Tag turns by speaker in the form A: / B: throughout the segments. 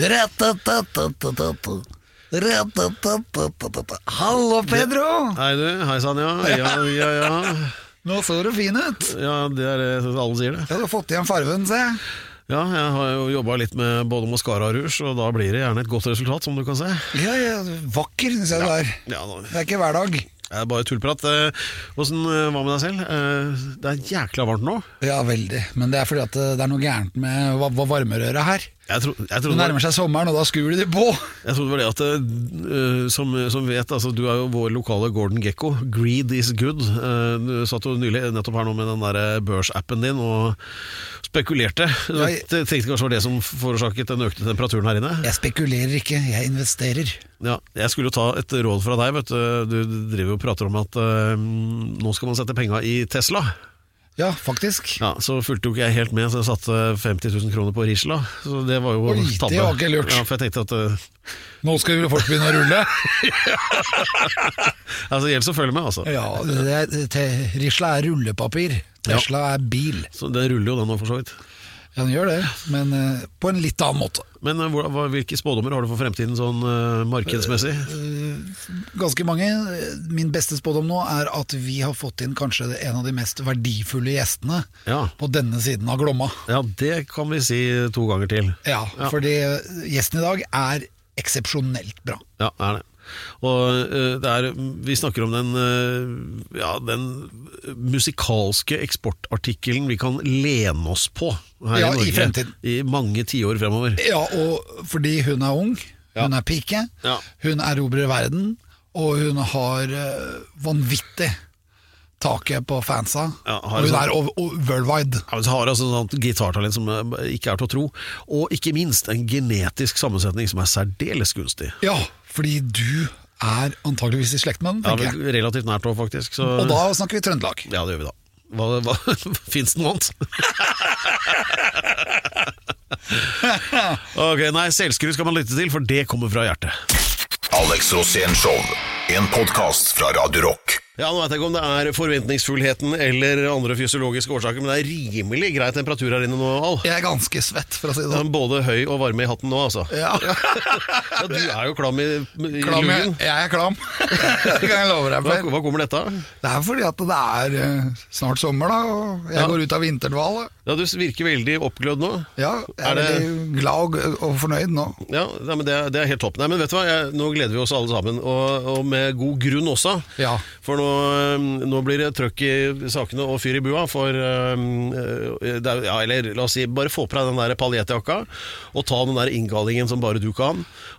A: Ratatatatata. Ratatatatata. Hallo, Pedro!
B: Hei du, hei sann, ja. Ja, ja, ja.
A: Nå så du fin ut.
B: ja det er det alle sier det.
A: Ja, du har fått igjen farven, se.
B: Ja, jeg har jo jobba litt med både mascara og rouge, og da blir det gjerne et godt resultat, som du kan se.
A: Ja, ja, vakker, syns jeg du er.
B: Ja, da,
A: Det er ikke hver dag.
B: det er bare tullprat. Eh, Åssen, eh, hva med deg selv? Eh, Det er jækla varmt nå.
A: Ja, veldig. Men det er fordi at eh, det er noe gærent med va- va- varmerøret her.
B: Jeg, tro, jeg,
A: Det
B: trodde, det var-
A: nærmer seg sommeren, og da skrur de det på.
B: jeg trodde det var det at eh, som, som vet, altså, du er jo vår lokale Gordon Gekko. Greed is good. Eh, Du satt jo nylig nettopp her nå med den der eh, børsappen din og spekulerte. Du
A: Ja, jeg-
B: tenkte kanskje det var det som forårsaket den økte temperaturen her inne?
A: Jeg spekulerer ikke, jeg investerer.
B: Ja, jeg skulle jo ta et råd fra deg. Vet du. du driver jo og prater om at eh, nå skal man sette penga i Tesla.
A: Ja, faktisk.
B: Ja, Så fulgte jo ikke jeg helt med, så jeg satte 50 000 kroner på Risla. Så det var jo
A: Oi, det
B: tabbe.
A: var ikke lurt.
B: Ja, for jeg tenkte at eh,
A: Nå skal jo folk begynne å rulle.
B: Altså, gjelder å følge med, altså.
A: Ja, det er, te- Risla er rullepapir. Tesla er bil.
B: Så det ruller jo den nå, for så vidt.
A: Ja, den gjør det, men eh, på en litt annen måte.
B: Men eh, hvor- hva- hvilke spådommer har du for fremtiden sånn eh, markedsmessig?
A: Ganske mange. Min beste spådom nå er at vi har fått inn kanskje en av de mest verdifulle gjestene
B: Ja.
A: på denne siden av Glomma.
B: Ja, det kan vi si to ganger til.
A: Ja, fordi eh, gjesten i dag er eksepsjonelt bra.
B: Ja, er det. Og eh, det er, vi snakker om den, eh, ja, den musikalske eksportartikkelen vi kan lene oss på her
A: Ja, i
B: i Norge.
A: fremtiden.
B: I mange tiår fremover.
A: Ja, og fordi hun er ung, hun er pike,
B: Ja.
A: hun erobrer verden, og hun har eh, vanvittig taket på fansa,
B: Ja, har
A: og hun
B: sånn-
A: er ov- ov- worldwide.
B: Ja, men så har altså sånt gitartalent som eh, ikke er til å tro, og ikke minst en genetisk sammensetning som er særdeles gunstig.
A: Ja, fordi du er antageligvis i slekt med den,
B: Ja,
A: tenker jeg.
B: men relativt nært òg, faktisk. Så,
A: Og da snakker vi Trøndelag.
B: Ja, det gjør vi da. Hva, hva, Fins det noe annet? ok, Nei, selvskru skal man lytte til, for det kommer fra hjertet.
C: Alex Rosénshow. En podkast fra Radio Rock.
B: Ja, Nå veit jeg ikke om det er forventningsfullheten eller andre fysiologiske årsaker, men det er rimelig grei temperatur her inne nå, Al.
A: Jeg er ganske svett, for å si det
B: Det
A: sånn.
B: er Både høy og varme i hatten nå, altså.
A: Ja.
B: Ja, Du er jo klam i, i
A: Klam, jeg,
B: luggen.
A: jeg er klam. det kan jeg love deg
B: Hva,
A: for.
B: hva kommer dette av?
A: Det er fordi at det er eh, snart sommer, da, og jeg
B: Ja.
A: går ut av vinterdvale.
B: Ja, du virker veldig oppglødd nå.
A: Ja, jeg
B: Er
A: er,
B: det-
A: veldig glad og, og fornøyd nå.
B: Ja, nei, men det, er- det er helt topp. Nei, men vet du hva, jeg, Nå gleder vi oss alle sammen, og, og med god grunn også.
A: Ja.
B: For nå, øhm, nå blir det trøkk i sakene og fyr i bua. For øhm, øh, det er, ja, eller la oss si, bare få på deg den der paljettjakka, og ta den der inngallingen som bare du kan.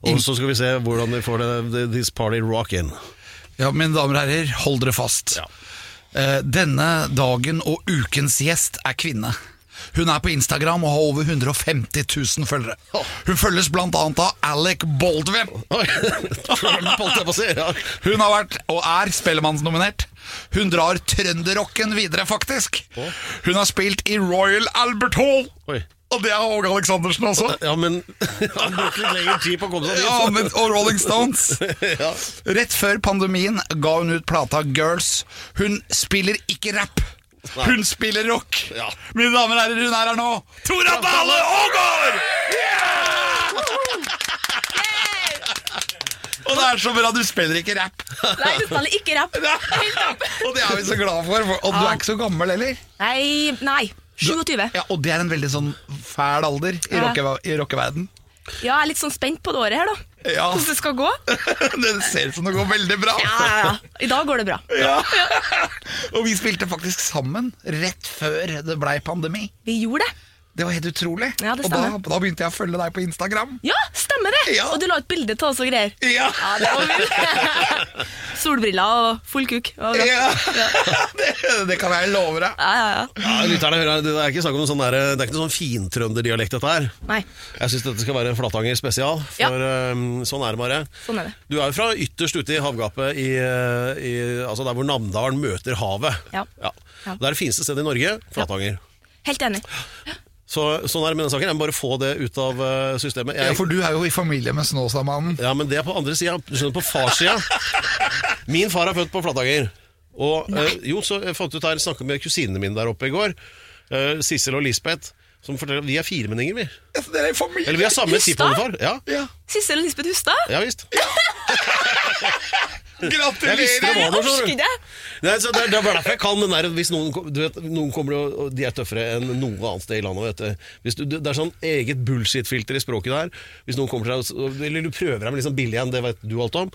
B: Og så skal vi se hvordan vi får det, det, this party rock in.
A: Ja, mine damer og herrer, hold dere fast.
B: Ja.
A: Eh, denne dagen og ukens gjest er kvinne. Hun er på Instagram og har over 150 000 følgere. Hun følges bl.a. av Alec Baldwin.
B: Oi, Trump holdt jeg på å si! Ja.
A: Hun har vært, og er, spellemannsnominert. Hun drar trønderrocken videre, faktisk. Hun har spilt i Royal Albert Hall.
B: Oi.
A: Og det har Åge Aleksandersen også.
B: ja, men Han brukte litt lengre tid på å komme seg dit.
A: Ja, men, og Rolling Stones.
B: Ja.
A: Rett før pandemien ga hun ut plata Girls. Hun spiller ikke rap. Hun spiller rock.
B: Ja.
A: Mine damer og herrer, hun er her nå. Tora Dale Aagaard! Og det er så bra, du spiller ikke rap.
D: Nei, du spiller ikke rapp. Helt opp.
A: Og det er vi så glad for. for- Og du er ikke så gammel heller.
D: Nei, nei. 27.
A: Ja, Og det er en veldig sånn fæl alder i,
D: Ja.
A: rocke, i rockeverden.
D: Ja, jeg er litt sånn spent på det året her, da.
A: Ja.
D: Hvordan det skal gå.
A: det ser ut som det går veldig bra. altså.
D: Ja, ja, ja. I dag går det bra.
A: Og vi spilte faktisk sammen rett før det blei pandemi.
D: Vi gjorde det.
A: Det var helt utrolig.
D: Ja, det
A: og da,
D: stemmer.
A: da begynte jeg å følge deg på Instagram.
D: Ja, stemmer det!
A: Ja.
D: Og du la ut bilde av oss og greier.
A: Ja,
D: Ja, det var vilt. solbriller og full kuk. Det var bra.
A: Ja. det, det kan jeg love deg.
D: Ja, ja, ja.
B: Ja, lytterne hører, det er ikke snakk om noen sånn der, Det er ikke noen sånn fintrønderdialekt, dette her.
D: Nei.
B: Jeg syns dette skal være en Flatanger spesial,
D: Ja.
B: for øhm, sånn er det bare.
D: Sånn er det.
B: Du er jo fra ytterst ute i havgapet, i, øh, i, altså der hvor Namdalen møter havet.
D: Ja. Ja.
B: Det er det fineste stedet i Norge, Flatanger.
D: Helt enig.
B: Så, sånn er det med den saken. Jeg må bare få det ut av øh, systemet.
A: Ja,
B: Jeg,
A: for du er jo i familie med Snåsamannen.
B: ja, men det er på andre sida. Du skjønner, på farssida. Min far er født på Flatanger. Og eh, jo, så jeg fant ut her, snakket med kusinene mine der oppe i går. Eh, Sissel og Lisbeth. Som forteller at vi er firemenninger, vi.
A: Ja, for Dere er i familie.
B: Eller vi har samme
D: Hustad?
B: tippoldefar. Ja,
A: Ja.
D: Sissel Lisbeth Hustad?
B: ja visst. Jeg visste det
A: Gratulerer!
B: var noe
D: Orsker
B: sånt.
D: ikke.
B: Nei, så det, er- det er bare derfor jeg kan den der hvis noen, kom- du vet, noen kommer og og de er tøffere enn noe annet sted i landet. Vet du. Hvis du, det er sånn eget bullshit-filter i språket der. Hvis noen kommer til deg og s- og- Eller du prøver deg med litt sånn billig en, det vet du alt om.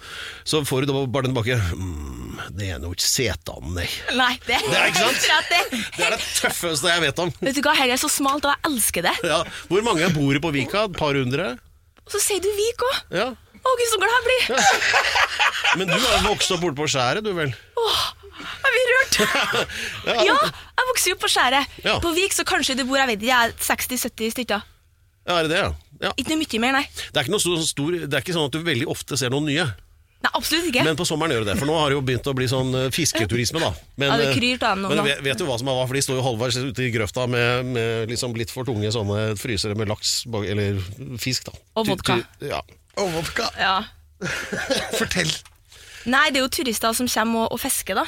B: Så får du da bare den tilbake. Mm, det er noe setan, nei.
D: Nei, det er
B: er ikke sant.
D: helt rett, det.
B: Det er det tøffeste jeg vet om.
D: Vet du hva, her er så smalt, og jeg elsker det.
B: Ja. Hvor mange bor på Vika? Et par hundre?
D: Og så sier du Vik òg.
B: Ja.
D: Å, gud, så glad jeg blir.
B: Men du har jo vokst opp borte på skjæret, du vel?
D: Jeg blir rørt. Ja, jeg vokser jo opp på skjæret.
B: Ja.
D: På Vik så kanskje det bor jeg vet ikke, jeg er 60-70 stykker.
B: Ja, er det det, ja? ja.
D: Ikke mye mer, nei.
B: Det er ikke, noe stor, stor, det er ikke sånn at du veldig ofte ser noen nye.
D: Nei, Absolutt ikke.
B: Men på sommeren gjør du det, for nå har det jo begynt å bli sånn eh, fisketurisme, da. Men,
D: Ja, det
B: eh,
D: kryr til enden nå,
B: men
D: da.
B: vet, vet du hva som er hva? For de står jo halvveis ute i grøfta med, med liksom litt for tunge sånne frysere med laks, bag- eller fisk, da.
D: Og
B: Ty-
D: vodka.
B: ty- Ja.
A: Og vodka.
D: Ja.
A: Fortell.
D: Nei, det er jo turister som kommer og, og fisker, da.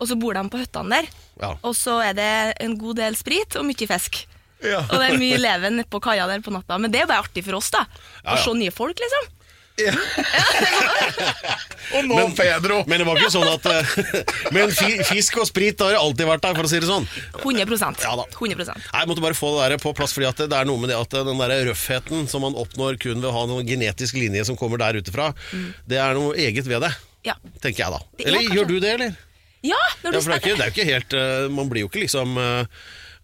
D: Og så bor de på hyttene der.
B: Ja.
D: Og så er det en god del sprit og mye fisk.
A: Ja.
D: Og det er mye leven nede på kaia der på natta. Men det er jo bare artig for oss, da.
B: Ja,
D: Å
B: ja.
D: se nye folk, liksom.
A: Og nå, Pedro.
B: Men det var ikke sånn at eh, Men fi- fisk og sprit har alltid vært der, for å si det sånn.
D: 100
B: Ja da.
D: 100
B: Nei, Jeg måtte bare få det der på plass, fordi at det er noe med det at den der røffheten som man oppnår kun ved å ha noen genetisk linje som kommer der ute fra, det er noe eget ved det.
D: Ja.
B: Tenker jeg, da.
D: Det- Mm. ja,
B: Eller
D: kanskje.
B: gjør du det, eller?
D: Ja, når du
B: Ja, for det er, ikke, det er jo ikke helt eh, Man blir jo ikke liksom eh,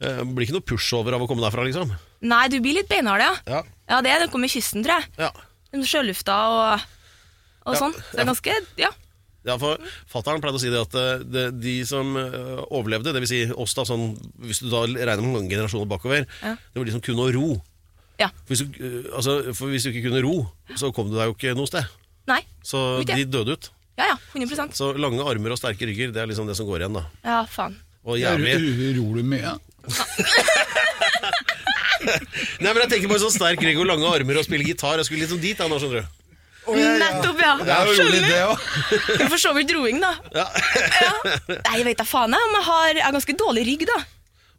B: eh, Blir ikke noe pushover av å komme derfra, liksom.
D: Nei, du blir litt beinhard, ja.
B: Ja.
D: Ja, det er noe med kysten, tror jeg.
B: Ja.
D: Den Sjølufta og, og
B: Ja,
D: sånn. Så det er ganske Ja.
B: Ja, for Fattern pleide å si det at eh, det, de som eh, overlevde, dvs. Si oss, da, sånn, hvis du da regner med mange generasjoner bakover,
D: Ja.
B: det var de som kunne å ro.
D: ja.
B: For hvis, du, eh, altså, for hvis du ikke kunne ro, så kom du deg jo ikke noe sted.
D: Nei.
B: Så
D: Vet
B: de
D: jeg.
B: døde ut.
D: Ja, ja. 100
B: Så lange armer og sterke rygger, det er liksom det som går igjen, da.
D: Ja, faen.
B: Og jævlig
A: Ror du mye?
B: Nei, men jeg tenker på en sånn sterk rygg og lange armer og spille gitar. Jeg skulle liksom dit, jeg nå, skjønner du.
D: Nettopp, ja.
A: Det er jo rolig,
D: Skjønner.
A: det òg.
D: Du får så vidt roing, da. Ja. Nei, jeg vet da faen jeg om jeg har jeg har ganske dårlig rygg, da.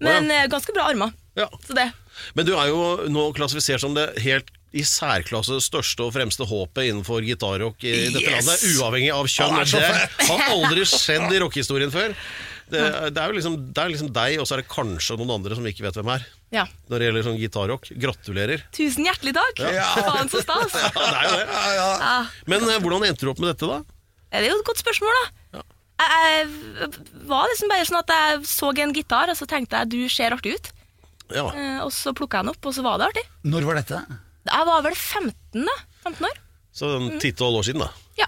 D: Men
B: Å,
D: eh, ganske bra armer.
B: Ja.
D: Så det.
B: Men du er jo nå klassifisert som det helt i særklasse største og fremste håpet innenfor gitarrock i dette
A: Yes!
B: landet, uavhengig av kjønn.
A: Han er så
B: det har aldri skjedd i rockehistorien før. Det, er- det er jo liksom, det er liksom deg, og så er det kanskje noen andre som vi ikke vet hvem er.
D: Ja.
B: Når det gjelder sånn gitarrock. Gratulerer.
D: Tusen hjertelig takk.
A: Ja.
D: Faen så stas.
B: Ja, det er jo det.
A: Ja, ja.
D: Ja.
B: Men eh, hvordan endte du opp med dette, da?
D: Det er jo et godt spørsmål, da. Jeg, jeg var liksom bare sånn at jeg så en gitar, og så tenkte jeg du ser artig ut.
B: Ja.
D: Eh, Og så plukka jeg den opp, og så var det artig.
A: Når var dette?
D: Jeg var vel 15, da. 15 år.
B: Så sånn 10-12 år siden, da.
D: Ja,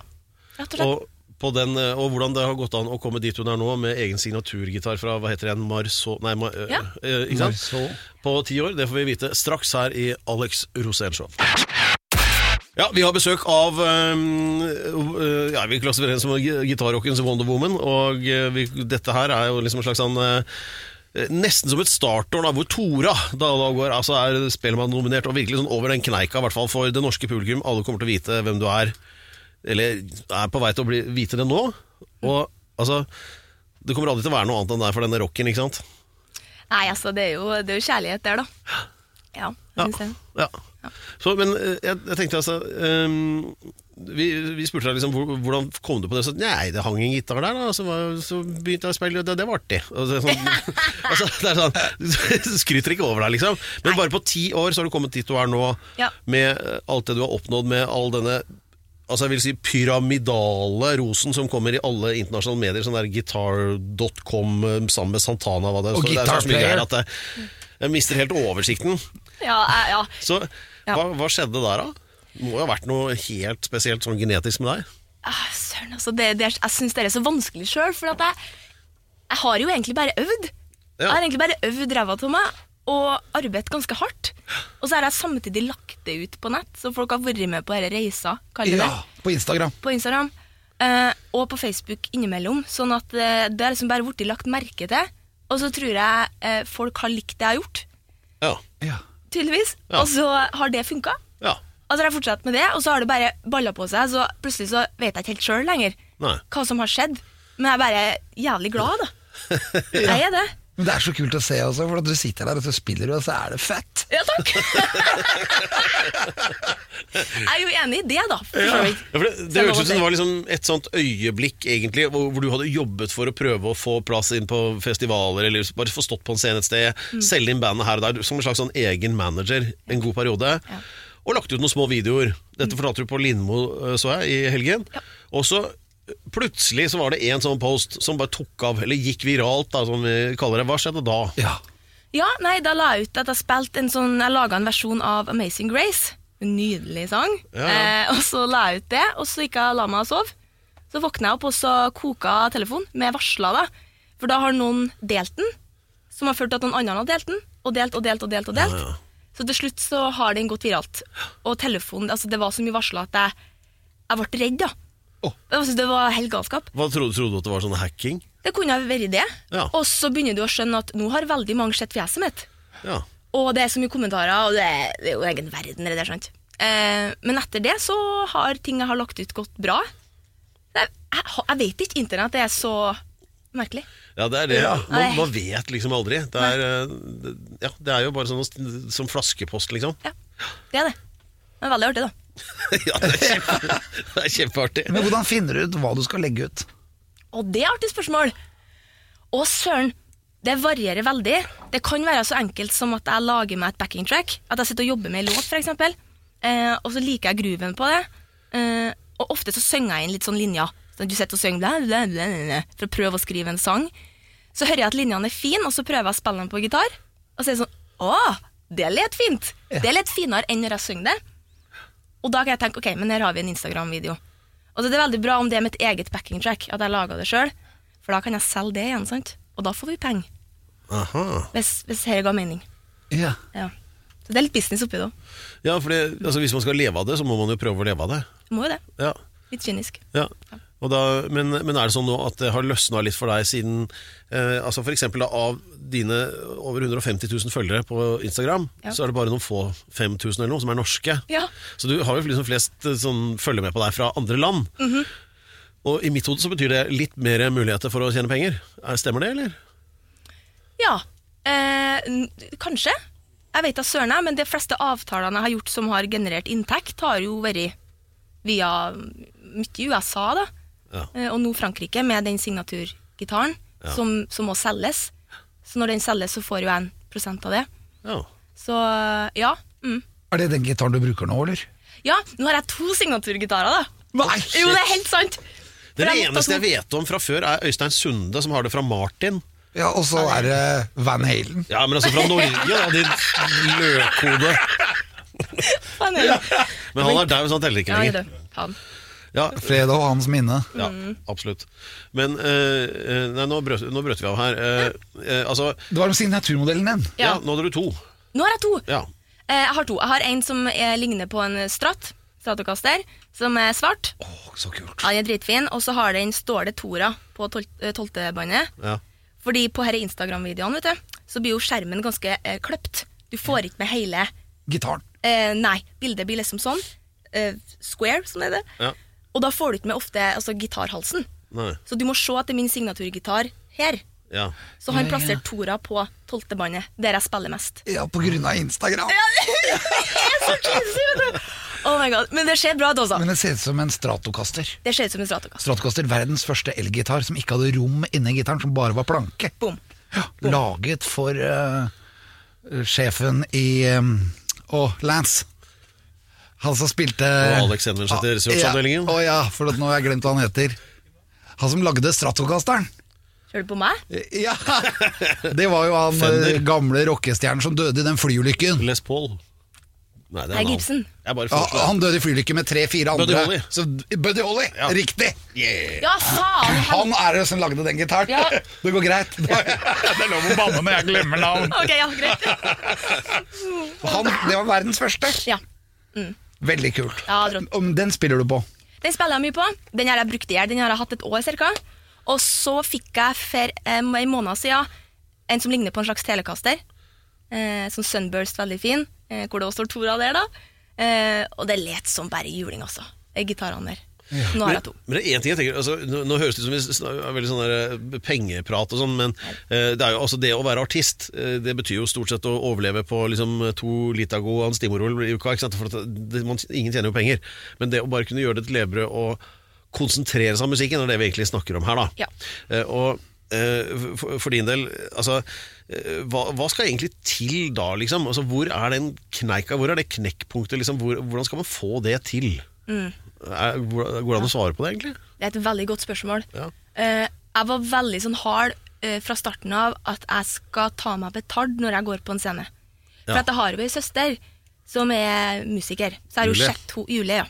D: rett og slett.
B: Og, på den, eh, og hvordan det har gått an å komme dit hun er nå, med egen signaturgitar fra hva heter den, Marceau Nei, Ma, eh,
D: Ja.
B: eh, ikke sant?
A: Marceau.
B: På ti år. Det får vi vite straks her i Alex Rosén-show. Ja, Vi har besøk av um, uh, ja, Vi klassifiserer henne som gi- gitarrockens Wonder Woman. Og eh, vi, dette her er jo liksom en slags sånn eh, Nesten som et startår, da, hvor Tora da, da går, altså er Spellemann-nominert. Og virkelig sånn over den kneika, i hvert fall for det norske publikum. Alle kommer til å vite hvem du er. Eller er på vei til å bli, vite det nå. Og altså Det kommer aldri til å være noe annet enn det er for denne rocken, ikke sant?
D: Nei, altså, det er, jo, det er jo kjærlighet der, da. Ja, jeg synes det.
B: Ja. Så, men eh, jeg, jeg tenkte altså ehm, vi, vi spurte deg liksom, hvor- hvordan kom du på det. Så, nei, det hang en gitar der, da. Så, var, så begynte jeg å spille, og det, det var artig. Og det, er sånn, altså, det er sånn, du skryter ikke over deg, liksom. Men bare på ti år så har du kommet dit du er nå,
D: Ja.
B: med eh, alt det du har oppnådd med all denne Altså jeg vil si pyramidale rosen som kommer i alle internasjonale medier. Sånn der guitar.com eh, sammen med Santana. Hva det, er.
A: Og
B: Så det er så mye
A: Guitar Player.
B: greier at jeg, jeg mister helt oversikten.
D: Ja, jeg- ja.
B: Så
D: Ja.
B: hva, hva skjedde der da? Det må jo ha vært noe helt spesielt sånn genetisk med deg.
D: Ah, s- søren, altså, det, det, jeg syns det er så vanskelig sjøl, for at jeg, jeg har jo egentlig bare øvd.
B: Ja.
D: Jeg har egentlig bare øvd ræva av meg og arbeidet ganske hardt. Og så har jeg samtidig lagt det ut på nett, så folk har vært med på denne reisa, kaller de
A: Ja,
D: det
A: på Instagram.
D: på Instagram eh, og på Facebook innimellom. Sånn at eh, det har liksom bare blitt lagt merke til. Og så tror jeg eh, folk har likt det jeg har gjort,
B: Ja.
A: Ja.
D: tydeligvis.
B: Ja.
D: Og så har det funka.
B: ja.
D: Og så har Altså, jeg fortsatt med det, og så har det bare balla på seg. Så plutselig så vet jeg ikke helt sjøl lenger
B: Nei.
D: hva som har skjedd. Men jeg er bare jævlig glad, da. Jeg er det.
A: Men det er så kult å se også, for at du sitter der og så spiller du, og så er det fett.
D: Ja, takk. jeg er jo enig i det, da. For så vidt.
B: Ja, for det det
D: Så jeg
B: hørtes ut som det
D: lover.
B: var liksom et sånt øyeblikk egentlig hvor, hvor du hadde jobbet for å prøve å få plass inn på festivaler, eller bare få stått på en scene et sted, selge inn bandet her og der, som en slags sånn egen manager en god periode. Og lagt ut noen små videoer. Dette fortalte du på Lindmo, eh, så jeg, i helgen. Og så eh, plutselig så var det en sånn post som bare tok av, eller gikk viralt, da, som vi kaller det. Hva skjedde da?
A: Ja.
D: Ja, nei, da la jeg ut at jeg spilte en sånn Jeg laga en versjon av Amazing Grace. En nydelig sang.
B: Ja, ja.
D: Eh, og så la jeg ut det, og så gikk jeg og la meg og sov. Så våkna jeg opp, og så koka telefonen med varsler, da. For da har noen delt den, som har ført til at noen andre har delt den. Og delt og delt og delt. og delt Så til slutt så har den gått viralt. Og telefonen Altså, det var så mye varsler at jeg, jeg ble redd, da.
A: Åh.
D: Jeg syntes det var helt galskap.
B: Hva trodde, trodde du at det var sånn hacking?
D: Det kunne ha vært det.
B: Ja.
D: Og så begynner du å skjønne at nå har veldig mange sett fjeset mitt.
B: Ja.
D: Og det er så mye kommentarer, og det er, det er jo egen verden, det der, sant? Eh, men etter det så har ting jeg har lagt ut, gått bra. Det er, jeg, har- jeg vet ikke. Internett er så merkelig.
B: Ja, det er det. Man,
D: Nei.
B: man vet liksom aldri. Det er, eh, det, ja, det er jo bare sånn å- som flaskepost, liksom.
D: Ja, det er det. Men veldig artig, da.
B: ja, det er, kjempe, det er kjempeartig.
A: Men hvordan finner du ut hva du skal legge ut?
D: Og det er artig spørsmål. Å, søren. Det varierer veldig. Det kan være så enkelt som at jeg lager meg et backing track. At jeg sitter og jobber med en låt, f.eks. Eh, og så liker jeg grooven på det. Eh, og ofte så synger jeg inn litt sånn linjer. Sånn, du sitter og synger bla, bla, bla, bla, bla, for å prøve å skrive en sang. Så hører jeg at linjene er fine, og så prøver jeg å spille dem på gitar. Og så er det sånn Å, det lett fint! Det er litt finere enn når jeg synger det. Og da kan jeg tenke ok, men her har vi en Instagram-video. Og så er det veldig bra om det er mitt eget backing track, at jeg laga det sjøl. For da kan jeg selge det igjen, sant? og da får vi penger.
B: Aha.
D: Hvis, hvis dette ga mening.
A: Ja.
D: Ja. Så det er litt business oppi det òg.
B: Ja, for det, altså, Hvis man skal leve av det, så må man jo prøve å leve av det.
D: Må jo det.
B: Ja,
D: Litt kynisk.
B: ja. Og da, men, men er det sånn nå at det har løsna litt for deg siden eh, altså for eksempel da, Av dine over 150 000 følgere på Instagram,
D: Ja.
B: så er det bare noen få 5000 eller noe som er norske.
D: Ja.
B: Så du har jo liksom flest eh, sånn, følger med på deg fra andre land.
D: Mhm.
B: Og i mitt hode så betyr det litt mer muligheter for å tjene penger. Er- Stemmer det, eller?
D: Ja. Eh, n- kanskje. Jeg vet da søren, jeg, men de fleste avtalene jeg har gjort som har generert inntekt, har jo vært via mm, mye i USA, da.
B: Ja.
D: Eh, og nå Frankrike, med den signaturgitaren som, som må selges. Så når den selges, så får jo jeg en prosent av det.
B: Ja.
D: Så ja. Mm.
A: Er det den gitaren du bruker nå, eller?
D: Ja, nå har jeg to signaturgitarer, da.
A: Nei!
D: Jo, det er helt sant! For
B: Den
D: jeg måtte
B: eneste
D: ha
B: jeg
D: to-
B: vet om fra før, er Øystein Sunde, som har det fra Martin.
A: Ja, og så er det Van Halen.
B: Ja, men altså fra Norge, da, din løkhode.
D: Faen, er det?
B: Men han er daud, så han teller ikke
D: Ja, jeg er
B: lenger.
D: død. Faen.
B: Ja,
A: Fred og hans minne.
B: ja absolutt. Men eh, eh, Nei, nå brøt, nå brøt vi av her. Eh, eh, altså
A: Det var om signaturmodellen din.
B: ja.
D: Ja.
B: nå hadde du to.
D: Nå har jeg to.
B: Ja.
D: Eh, jeg har to. Jeg har en som eh, ligner på en Strat, Stratocaster, som er svart.
A: Å, så kult.
D: Ja, den er dritfin. Og så har den, står det Tora på tol- eh, tolvtebåndet.
B: ja.
D: Fordi på denne Instagram-videoen vet du, så blir jo skjermen ganske eh, kløpt. Du får ikke med hele
A: Gitaren.
D: eh, Nei, bildet blir liksom sånn. Eh, square, som det heter.
B: Ja.
D: Og da får du ikke med ofte altså, gitarhalsen.
B: Nei.
D: Så du må se at det er min signaturgitar her.
B: Ja.
D: Så har han
A: Ja, ja.
D: plassert Tora på tolvtebåndet, der jeg spiller mest.
A: Ja, på grunn av Instagram.
D: Oh my god, Men det ser bra ut, altså.
A: Men det ser ut som en Stratocaster.
D: Det ser ut som en Stratocaster.
A: Stratocaster, verdens første elgitar som ikke hadde rom inni gitaren, som bare var planke.
D: Boom.
A: Ja, laget for eh, sjefen i eh, Å, Lance. Han som spilte
B: Og Alex Henvendsæter, researchavdelingen.
A: Ja, å ja, for at nå har jeg glemt hva han heter. Han som lagde Stratocasteren.
D: Ser du på meg?
A: Ja! Det var jo han eh,
B: Fender.
A: gamle rockestjernen som døde i den flyulykken.
B: Les Paul. Nei, det er
D: Nei,
B: en annen.
D: Gibson.
B: Jeg bare
A: Ja,
B: foreslår det.
A: han døde i flylykke med tre-fire andre.
B: Buddy Holly.
A: Så Buddy Holly,
B: Ja.
A: riktig!
D: Ja, faen!
A: Han er det som lagde den gitaren.
D: Ja.
A: Det går greit. Det er lov å banne når jeg glemmer navn.
D: Ok, ja, greit.
A: Han, det var verdens første.
D: Ja.
A: Veldig kult.
D: Ja, rått.
A: Om Den spiller du på.
D: Den spiller jeg mye på. Den har jeg brukt i hjel. Den har jeg hatt et år cirka. Og så fikk jeg for um, en måned siden en som ligner på en slags telekaster. Eh, sånn Sunburst, veldig fin. Eh, hvor det også står Tora der, da. Eh, og det let som bare juling, altså. De gitarene der. Nå har jeg to.
B: Men, men det er en ting jeg tenker altså, nå, nå høres det ut som vi snak- er veldig sånn der, eh, pengeprat og sånn, men eh, det, er jo, altså, det å være artist eh, Det betyr jo stort sett å overleve på liksom, to Litago og en stimorol i uka. Ikke sant? For at det, man, ingen tjener jo penger. Men det å bare kunne gjøre det til levebrød og konsentrere seg om musikken, er det vi egentlig snakker om her. da
D: Ja.
B: Eh, og eh, for, for din del, altså eh, hva, hva skal egentlig til da, liksom? Altså, hvor er den kneika, hvor er det knekkpunktet? Liksom? Hvor, hvordan skal man få det til?
A: Mm.
B: Er, hvor- går det an å svare på det, egentlig?
D: Det er et veldig godt spørsmål.
B: Ja.
D: Eh, jeg var veldig sånn hard eh, fra starten av at jeg skal ta meg betalt når jeg går på en scene. For
B: Ja.
D: at jeg har jo ei søster som er musiker. Så jeg har jo
B: Julie.
D: sett ho, Julie, ja.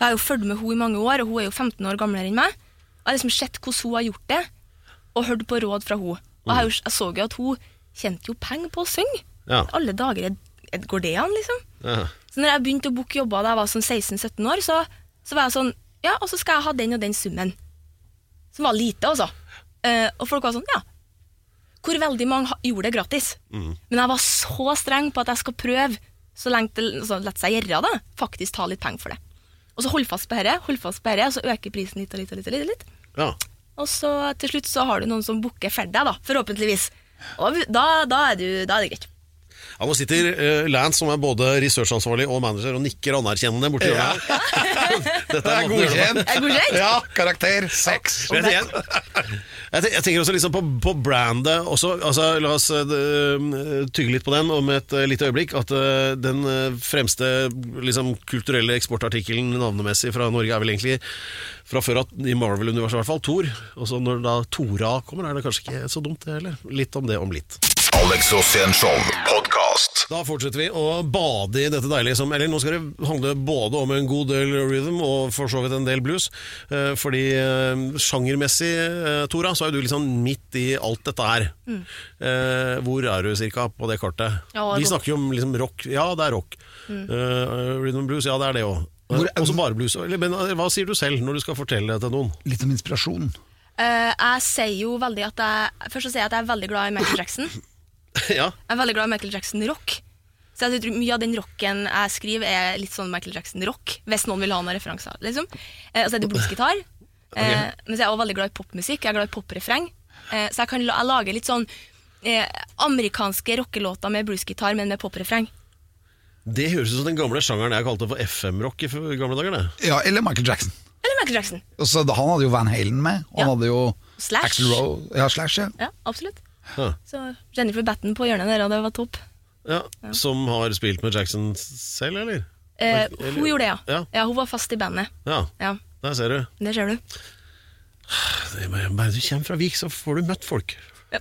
D: Jeg har jo fulgt med henne i mange år, og hun er jo 15 år gamlere enn meg. Jeg har liksom sett hvordan hun har gjort det, og hørt på råd fra henne. Og jeg, har jo, jeg så jo at hun tjente jo penger på å synge.
B: Mm. Ja.
D: Alle dager er- er- går det an, liksom.
B: Ja.
D: Så når jeg begynte å booke jobber da jeg var sånn 16-17 år, så, så var jeg sånn Ja, og så skal jeg ha den og den summen. Som var lite, altså. Eh, og folk var sånn Ja. Hvor veldig mange ha- gjorde det gratis. Men jeg var så streng på at jeg skal prøve, så lenge det så lett seg gjøre, da, faktisk ta litt penger for det. Og så hold fast på dette, hold fast på dette, og så øker prisen litt og litt og litt. Og litt, og litt.
B: Ja.
D: Og så til slutt så har du noen som booker for deg, da, forhåpentligvis. Og da, da, er du, da er det greit.
B: Ja, nå sitter eh, Lance, som er både researchansvarlig og manager, og nikker anerkjennende borti
A: Ja.
B: hjørnet. her. Dette
A: Det
B: er
A: er
B: måten å gjøre det på.
A: godkjent.
D: Er det godkjent?
A: Ja, karakter seks.
B: Men jeg, tenker- jeg, tenker- jeg tenker også liksom på, på brandet også, altså, La oss eh, d- tygge litt på den om et eh, lite øyeblikk. At eh, den eh, fremste liksom, kulturelle eksportartikkelen navnemessig fra Norge er vel egentlig fra før at i Marvel-universet i hvert fall, Thor. Og så når da Tora kommer, er det kanskje ikke så dumt det heller. Litt om det om litt.
C: Alex Rosén-show podcast.
B: Da fortsetter vi å bade i dette deilige som Eller nå skal det handle både om en god del rhythm og for så vidt en del blues. Eh, Fordi eh, sjangermessig, eh, Tora, så er jo du liksom midt i alt dette her. Eh, Hvor er du cirka på det kartet?
D: Ja,
B: vi
D: rock.
B: snakker jo om liksom rock. Ja, det er rock. Eh, Rhythm and blues, ja det er det òg.
A: Hvor-
B: Og så bare blues. Eller, Men eh, hva sier du selv når du skal fortelle det til noen?
A: Litt om inspirasjon.
D: Eh, jeg sier jo veldig at jeg Først så sier jeg at jeg er veldig glad i Michael Jackson. Jeg
B: ja,
D: er veldig glad i Michael Jackson rock. Så jeg tror mye av den rocken jeg skriver, er litt sånn Michael Jackson rock. Hvis noen vil ha noen referanser. Liksom. Eh, og så er det bluesgitar. Eh, Men så er jeg også veldig glad i popmusikk. Jeg er glad i poprefreng. Eh, så jeg kan la, jeg lager litt sånn eh, amerikanske rockelåter med bluesgitar, men med poprefreng.
B: Det høres ut som den gamle sjangeren jeg kalte for FM-rock i f- gamle dager. det
A: Ja, eller Michael Jackson.
D: Eller Michael Jackson.
A: Og så han hadde jo Van Halen med. Og han
D: Ja.
A: hadde jo
D: Slash.
A: Axl Rowe. Ja, Slash, ja.
D: Ja, absolutt.
B: Ja.
D: Så Jennifer Batten på hjørnet der, og det var topp.
B: Ja, Som har spilt med Jackson selv, eller?
D: Eh,
B: Eller-
D: hun gjorde det, ja.
B: Ja.
D: ja. Hun var fast i bandet.
B: Ja,
D: Ja,
B: der ser du.
D: det ser du.
B: Bare du kommer fra Vik, så får du møtt folk.
D: Det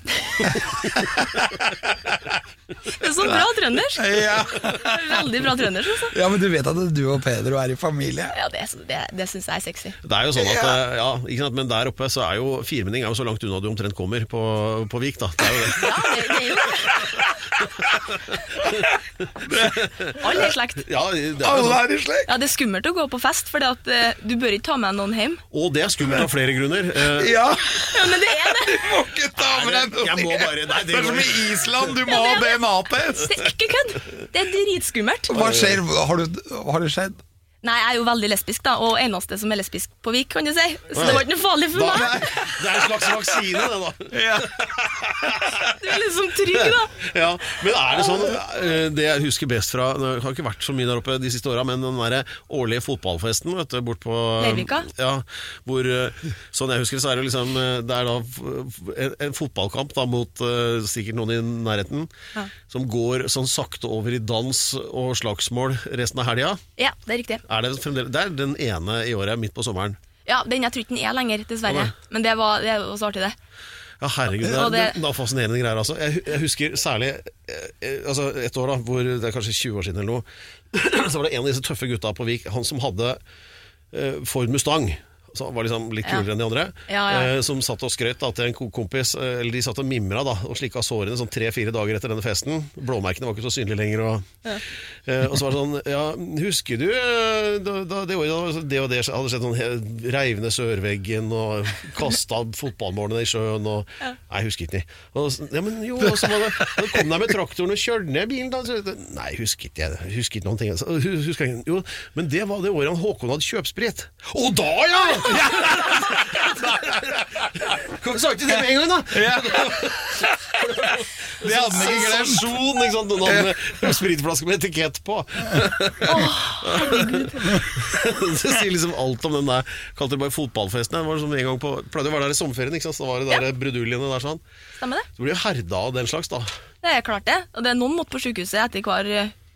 D: er så bra trøndersk!
A: Ja.
D: Veldig bra trøndersk, altså.
A: ja, men du vet at du og Pedro er i familie.
D: Ja, det, er- det, det syns jeg er sexy.
B: Det er jo sånn at, eh, ja, ikke sant, Men der oppe så er jo firmenning er jo så langt unna du omtrent kommer på, på Vik, da. Det er jo det.
D: Ja, det, det er jo Alle er slekt.
B: Ja, det er jo
A: Alle
B: sånn.
A: er i slekt!
D: Ja, det er skummelt å gå på fest, for du bør ikke ta med noen hjem.
B: Og det er skummelt av flere grunner. Eh,
A: Ja,
D: Ja, men det er det!
A: må ikke ta med deg noe!
B: Jeg må bare- nei, det
A: det er
B: går
A: som i Island, du må
D: Ja,
A: ha
D: det
A: DNA-test!
D: Det er ikke kødd! Det er dritskummelt.
A: Hva skjer? Har, du, har det skjedd?
D: Nei, jeg er jo veldig lesbisk, da, og eneste som er lesbisk på Vik, kan du si. Så det var ikke noe farlig for meg.
B: det er en slags vaksine, det, da.
D: Du er liksom trygg, da.
B: Ja, men er det sånn eh, Det jeg husker best fra Det har ikke vært så mye der oppe de siste åra, men den der årlige fotballfesten vet du, bort på
D: Leirvika?
B: Ja, hvor eh, Sånn jeg husker det, så er det liksom eh, Det er da f- f- en, en fotballkamp da mot eh, sikkert noen i nærheten,
D: Ja.
B: som går sånn sakte over i dans og slagsmål resten av helga.
D: Ja, det er riktig.
B: Er det, fremdeles- det er den ene i året, midt på sommeren.
D: Ja, Den jeg tror ikke den er lenger, dessverre. Men det var, det var så artig, det.
B: Ja, herregud, det
D: Og
B: er, det...
D: det-
B: er fascinerende greier altså. jeg, hu- jeg husker særlig eh, eh, altså et år da, hvor det er kanskje 20 år siden eller noe, så var det en av disse tøffe gutta på Vik, han som hadde eh, Ford Mustang, så han var liksom litt
D: Ja.
B: kulere enn de andre,
D: Ja, ja.
B: eh, som satt og skrøt da, til en ko- kompis, eh, eller de satt og mimra da, og slikka sårene sånn tre-fire dager etter denne festen. Blåmerkene var ikke så synlige lenger. Og, eh, og så var det sånn, ja, husker du eh, da, da det, året da det og det hadde skjedd sånn he- reiv ned sørveggen og kasta fotballmålene i sjøen og Nei, jeg husker ikke. Og, så- ja, men jo, og så var det, da kom de med traktoren og kjørte ned bilen. Da, så, nei, husker ikke jeg. Husker ikke noen ting. Så, hu- husker jeg, jo, men det var det året han Håkon hadde kjøpsprett.
A: Og da, ja! ja!
B: Kan vi sagt det med en gang, da?
A: Det hadde vi ikke glemt.
B: Sensasjon, Sånn, ikke sant? Noen hadde en spritflaske med etikett på. det sier liksom alt om den der Kalte det bare fotballfesten. Det var som en gang på, pleide å være der i sommerferien, ikke sant? så da var det der bruduljene der sånn.
D: Stemmer det?
B: Så blir du herda av den slags, da.
D: Det er klart det. Og det er noen måtte på sykehuset etter hver,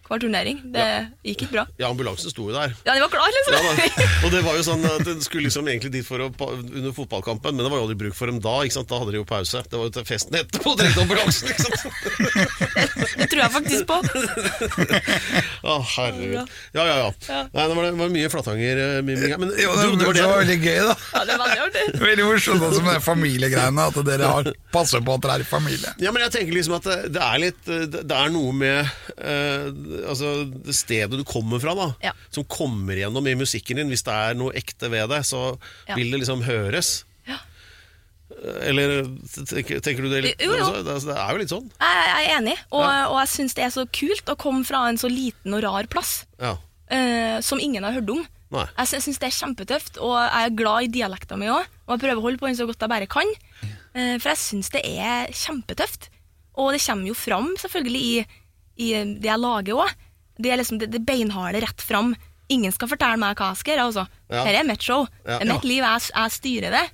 D: hver turnering. Det gikk ikke bra.
B: Ja, ambulansen sto jo der.
D: Ja, de var klar,
B: Ja,
D: liksom.
B: da. Og det var jo sånn at Den skulle liksom egentlig dit for å, pa- under fotballkampen, men det var jo aldri bruk for dem da. Ikke sant? Da hadde de jo pause. Det var jo til festen etterpå. Trengte ambulansen, ikke sant?
D: det tror jeg faktisk på.
B: Å,
D: Ja,
B: herregud. Ja, ja, ja.
D: Ja.
B: Nei, det var, det var mye flatanger. eh, miming her, Men du,
A: Jo, det,
B: det var
A: det var
B: det.
A: veldig gøy, da.
D: Ja, det er veldig artig.
A: Veldig morsomt også med de familiegreiene, at dere har passer på at dere er i familie.
B: Ja, men jeg tenker liksom at det- det er litt eh, Det det er noe med eh, altså det stedet du kommer fra, da.
D: Ja.
B: Som kommer gjennom i musikken din. Hvis det er noe ekte ved det, så
D: Ja.
B: vil det liksom høres.
D: Ja.
B: Eh, Eller tenker, tenker du det litt
D: Jo, jo.
B: altså, Det, det er jo litt sånn.
D: Jeg, jeg er enig, og, og jeg syns det er så kult å komme fra en så liten og rar plass
B: Ja.
D: eh, som ingen har hørt om.
B: Nei.
D: Jeg sy- syns det er kjempetøft, og jeg er glad i dialekta mi òg. Og jeg prøver å holde på den så godt jeg bare kan, eh, for jeg syns det er kjempetøft. Og det kommer jo fram, selvfølgelig, i, i det jeg lager òg. Det er liksom det, det beinharde rett fram. Ingen skal fortelle meg hva jeg skal gjøre. altså.
B: Ja.
D: Her er mitt show.
B: Ja.
D: Det er mitt
B: Ja.
D: liv. Jeg, jeg styrer det.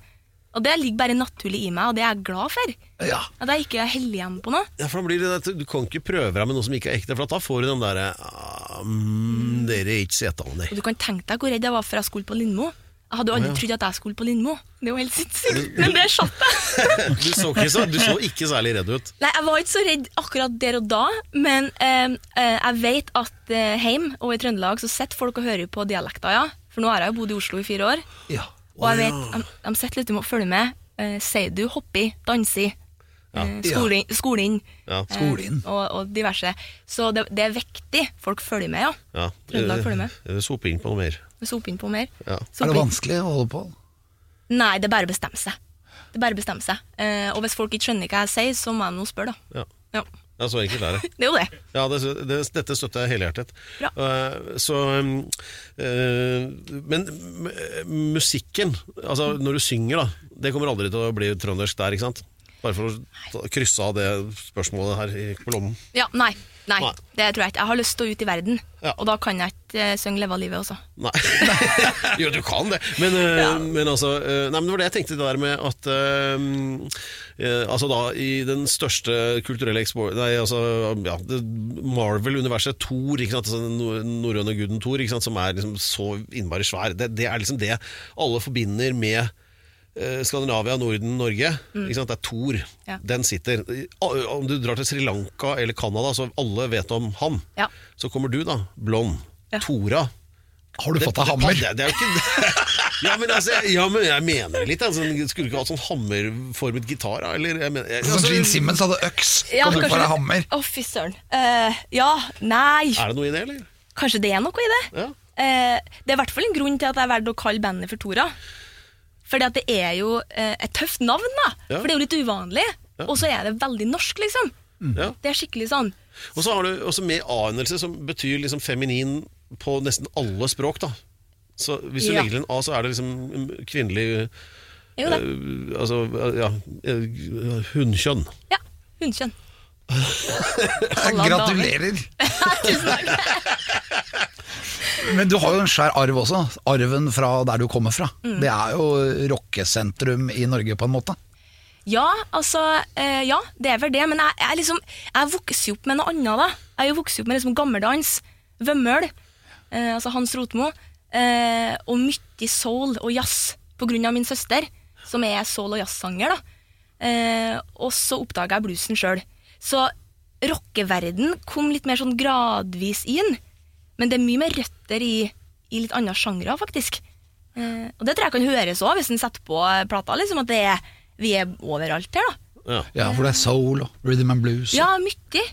D: Og det ligger bare naturlig i meg, og det er jeg glad for.
A: Ja.
D: At jeg ikke heller igjen på noe.
B: Ja, for da blir det det at Du kan ikke prøve deg med noe som ikke er ekte, for da får du den derre ah, mm, Dere er ikke setene der.
D: Og du kan tenke deg hvor redd jeg var for jeg skulle på Lindmo. Jeg hadde jo aldri trodd at jeg skulle på Lindmo. Det er jo helt sinnssykt. Men det satt jeg.
B: Du så, ikke så, du så ikke særlig redd ut.
D: Nei, jeg var ikke så redd akkurat der og da, men eh, eh, jeg vet at eh, heim og i Trøndelag så sitter folk og hører på dialekter, ja. For nå har jeg jo bodd i Oslo i fire år,
A: Ja.
D: og jeg vet, de, de sitter litt og følger med. Eh, sier du hoppi, dansi, eh, skole, skole inn,
B: Ja.
D: eh,
A: Skole inn.
D: og, og diverse. Så det, det er viktig. Folk følger med, ja.
B: Ja.
D: Trøndelag følger med.
B: Eh, Sop inn på noe mer.
D: Sop inn på mer.
B: Ja.
D: Sop
A: Er det
D: inn.
A: vanskelig å holde på?
D: Nei, det er bare å bestemme seg. Det er bare å bestemme seg. Eh, og hvis folk ikke skjønner hva jeg sier, så må de nå spørre, da.
B: Ja.
D: Ja.
B: ja, så enkelt er det.
D: Det er jo det.
B: Ja, det, det, dette støtter jeg helhjertet.
D: Bra.
B: Eh, så um, eh, Men m- musikken, altså når du synger, da. Det kommer aldri til å bli trøndersk der, ikke sant? Bare for å ta- krysse av det spørsmålet her i- på lommen.
D: Ja, nei. Nei,
B: Nei.
D: det tror jeg ikke. Jeg har lyst til å ut i verden,
B: Ja.
D: og da kan jeg ikke eh, synge 'Leve av livet' også.
B: Nei. jo, du kan det. Men, eh, men altså eh, Nei, men det var det jeg tenkte det der med at eh, eh, Altså da, i den største kulturelle eksport... Nei, altså ja, det- Marvel-universet, Thor, ikke sant? Altså, den nor- norrøne guden Thor, ikke sant? som er liksom så innmari svær. Det, det er liksom det alle forbinder med eh, Skandinavia, Norden, Norge. Ikke sant? Det er Thor.
D: Mm. Ja.
B: Den sitter. I- Om du drar til Sri Lanka eller Canada, så alle vet om han.
D: Ja.
B: Så kommer du, da. Blond.
D: Ja.
B: Tora.
A: Har du
B: Det-
A: fått deg hammer?
B: Det, det er jo ikke ja, men altså, jeg- ja, men jeg mener det litt. Altså, skulle du ikke hatt sånn hammerformet gitar? da, Eller, jeg mener, jeg,
A: Sånn
B: altså,
A: Gene Simmons hadde øks, kan du få deg hammer?
D: Å, fy søren. Eh, ja, nei.
B: er det noe i det, eller?
D: Kanskje det er noe i det.
B: Ja.
D: Eh, det er i hvert fall en grunn til at jeg valgte å kalle bandet for Tora. Fordi at det er jo eh, et tøft navn, da.
B: Ja.
D: For det er jo litt uvanlig. Og så er det veldig norsk, liksom.
A: Mm.
B: Ja.
D: Det er skikkelig sånn.
B: Og så har du også med anelse, som betyr liksom feminin på nesten alle språk. da så Hvis du
D: Ja.
B: legger til en A, så er det liksom mm, kvinnelig
D: Det er jo det.
B: øh, Altså, ja øh, Hunnkjønn.
D: Ja, hundkjønn. Alle damer.
A: Gratulerer! Men du har jo en svær arv også. Arven fra der du kommer fra.
D: Mm.
A: Det er jo rockesentrum i Norge, på en måte.
D: Ja, altså, eh, ja, det er vel det, men jeg, jeg, liksom, jeg vokser jo opp med noe annet da. Jeg er jo vokser opp med liksom gammeldans, Vømmøl, eh, altså Hans Rotmo, eh, og mye soul og jazz på grunn av min søster, som er soul- og jazzsanger da. Eh, og så oppdaga jeg bluesen sjøl. Så rockeverden kom litt mer sånn gradvis inn. Men det er mye mer røtter i, i litt andre sjangre, faktisk. Eh, og det tror jeg kan høres òg, hvis en setter på plata. liksom At det er, vi er overalt her, da.
B: Ja.
A: Ja, for det er soul og rhythm and blues.
D: Ja, mye.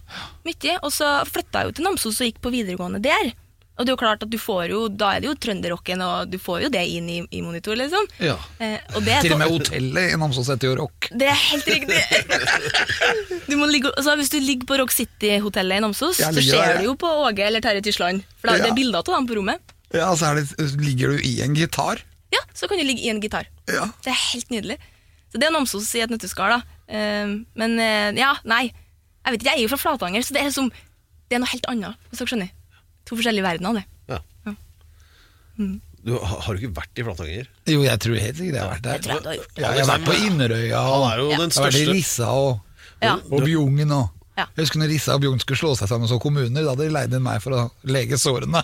D: mye. Og så flytta jeg jo til Namsos og gikk på videregående der. Og det er jo klart at du får jo, Da er det jo trønderrocken, og du får jo det inn i, i monitor, liksom.
A: Ja.
D: Eh, og det er
A: Til og
D: sånn-
A: med hotellet i Namsos heter jo Rock.
D: Det er helt riktig. Du må ligge, altså hvis du ligger på Rock City-hotellet i Namsos,
A: Jeg
D: så
A: ligger der,
D: ser
A: jeg.
D: du jo på Åge eller Terje Tysland. For da, det
A: Ja.
D: er bilder av dem på rommet.
A: Ja, så er det, ligger du i en gitar.
D: Ja, Så kan du ligge i en gitar.
A: Ja.
D: Det er helt nydelig. Så det er Namsos i et nøtteskall. da. Eh, men eh, ja, nei. Jeg vet ikke, jeg er jo fra Flatanger, så det er, som, det er noe helt annet. Hvis dere skjønner. To forskjellige verdener. det.
B: Ja. Du, har har du ikke vært i Flatanger?
A: Jo, jeg tror helt sikkert jeg har vært der.
D: Jeg tror jeg du har gjort det.
A: Ja, jeg har vært på Inderøya og
B: Han er jo den
A: jeg har vært i
B: største-
A: Rissa og,
D: Ja.
A: og Bjugn. Og.
D: Ja.
A: Jeg husker når Rissa og Bjugn skulle slå seg sammen som kommuner, da hadde de leid inn meg for å lege sårene.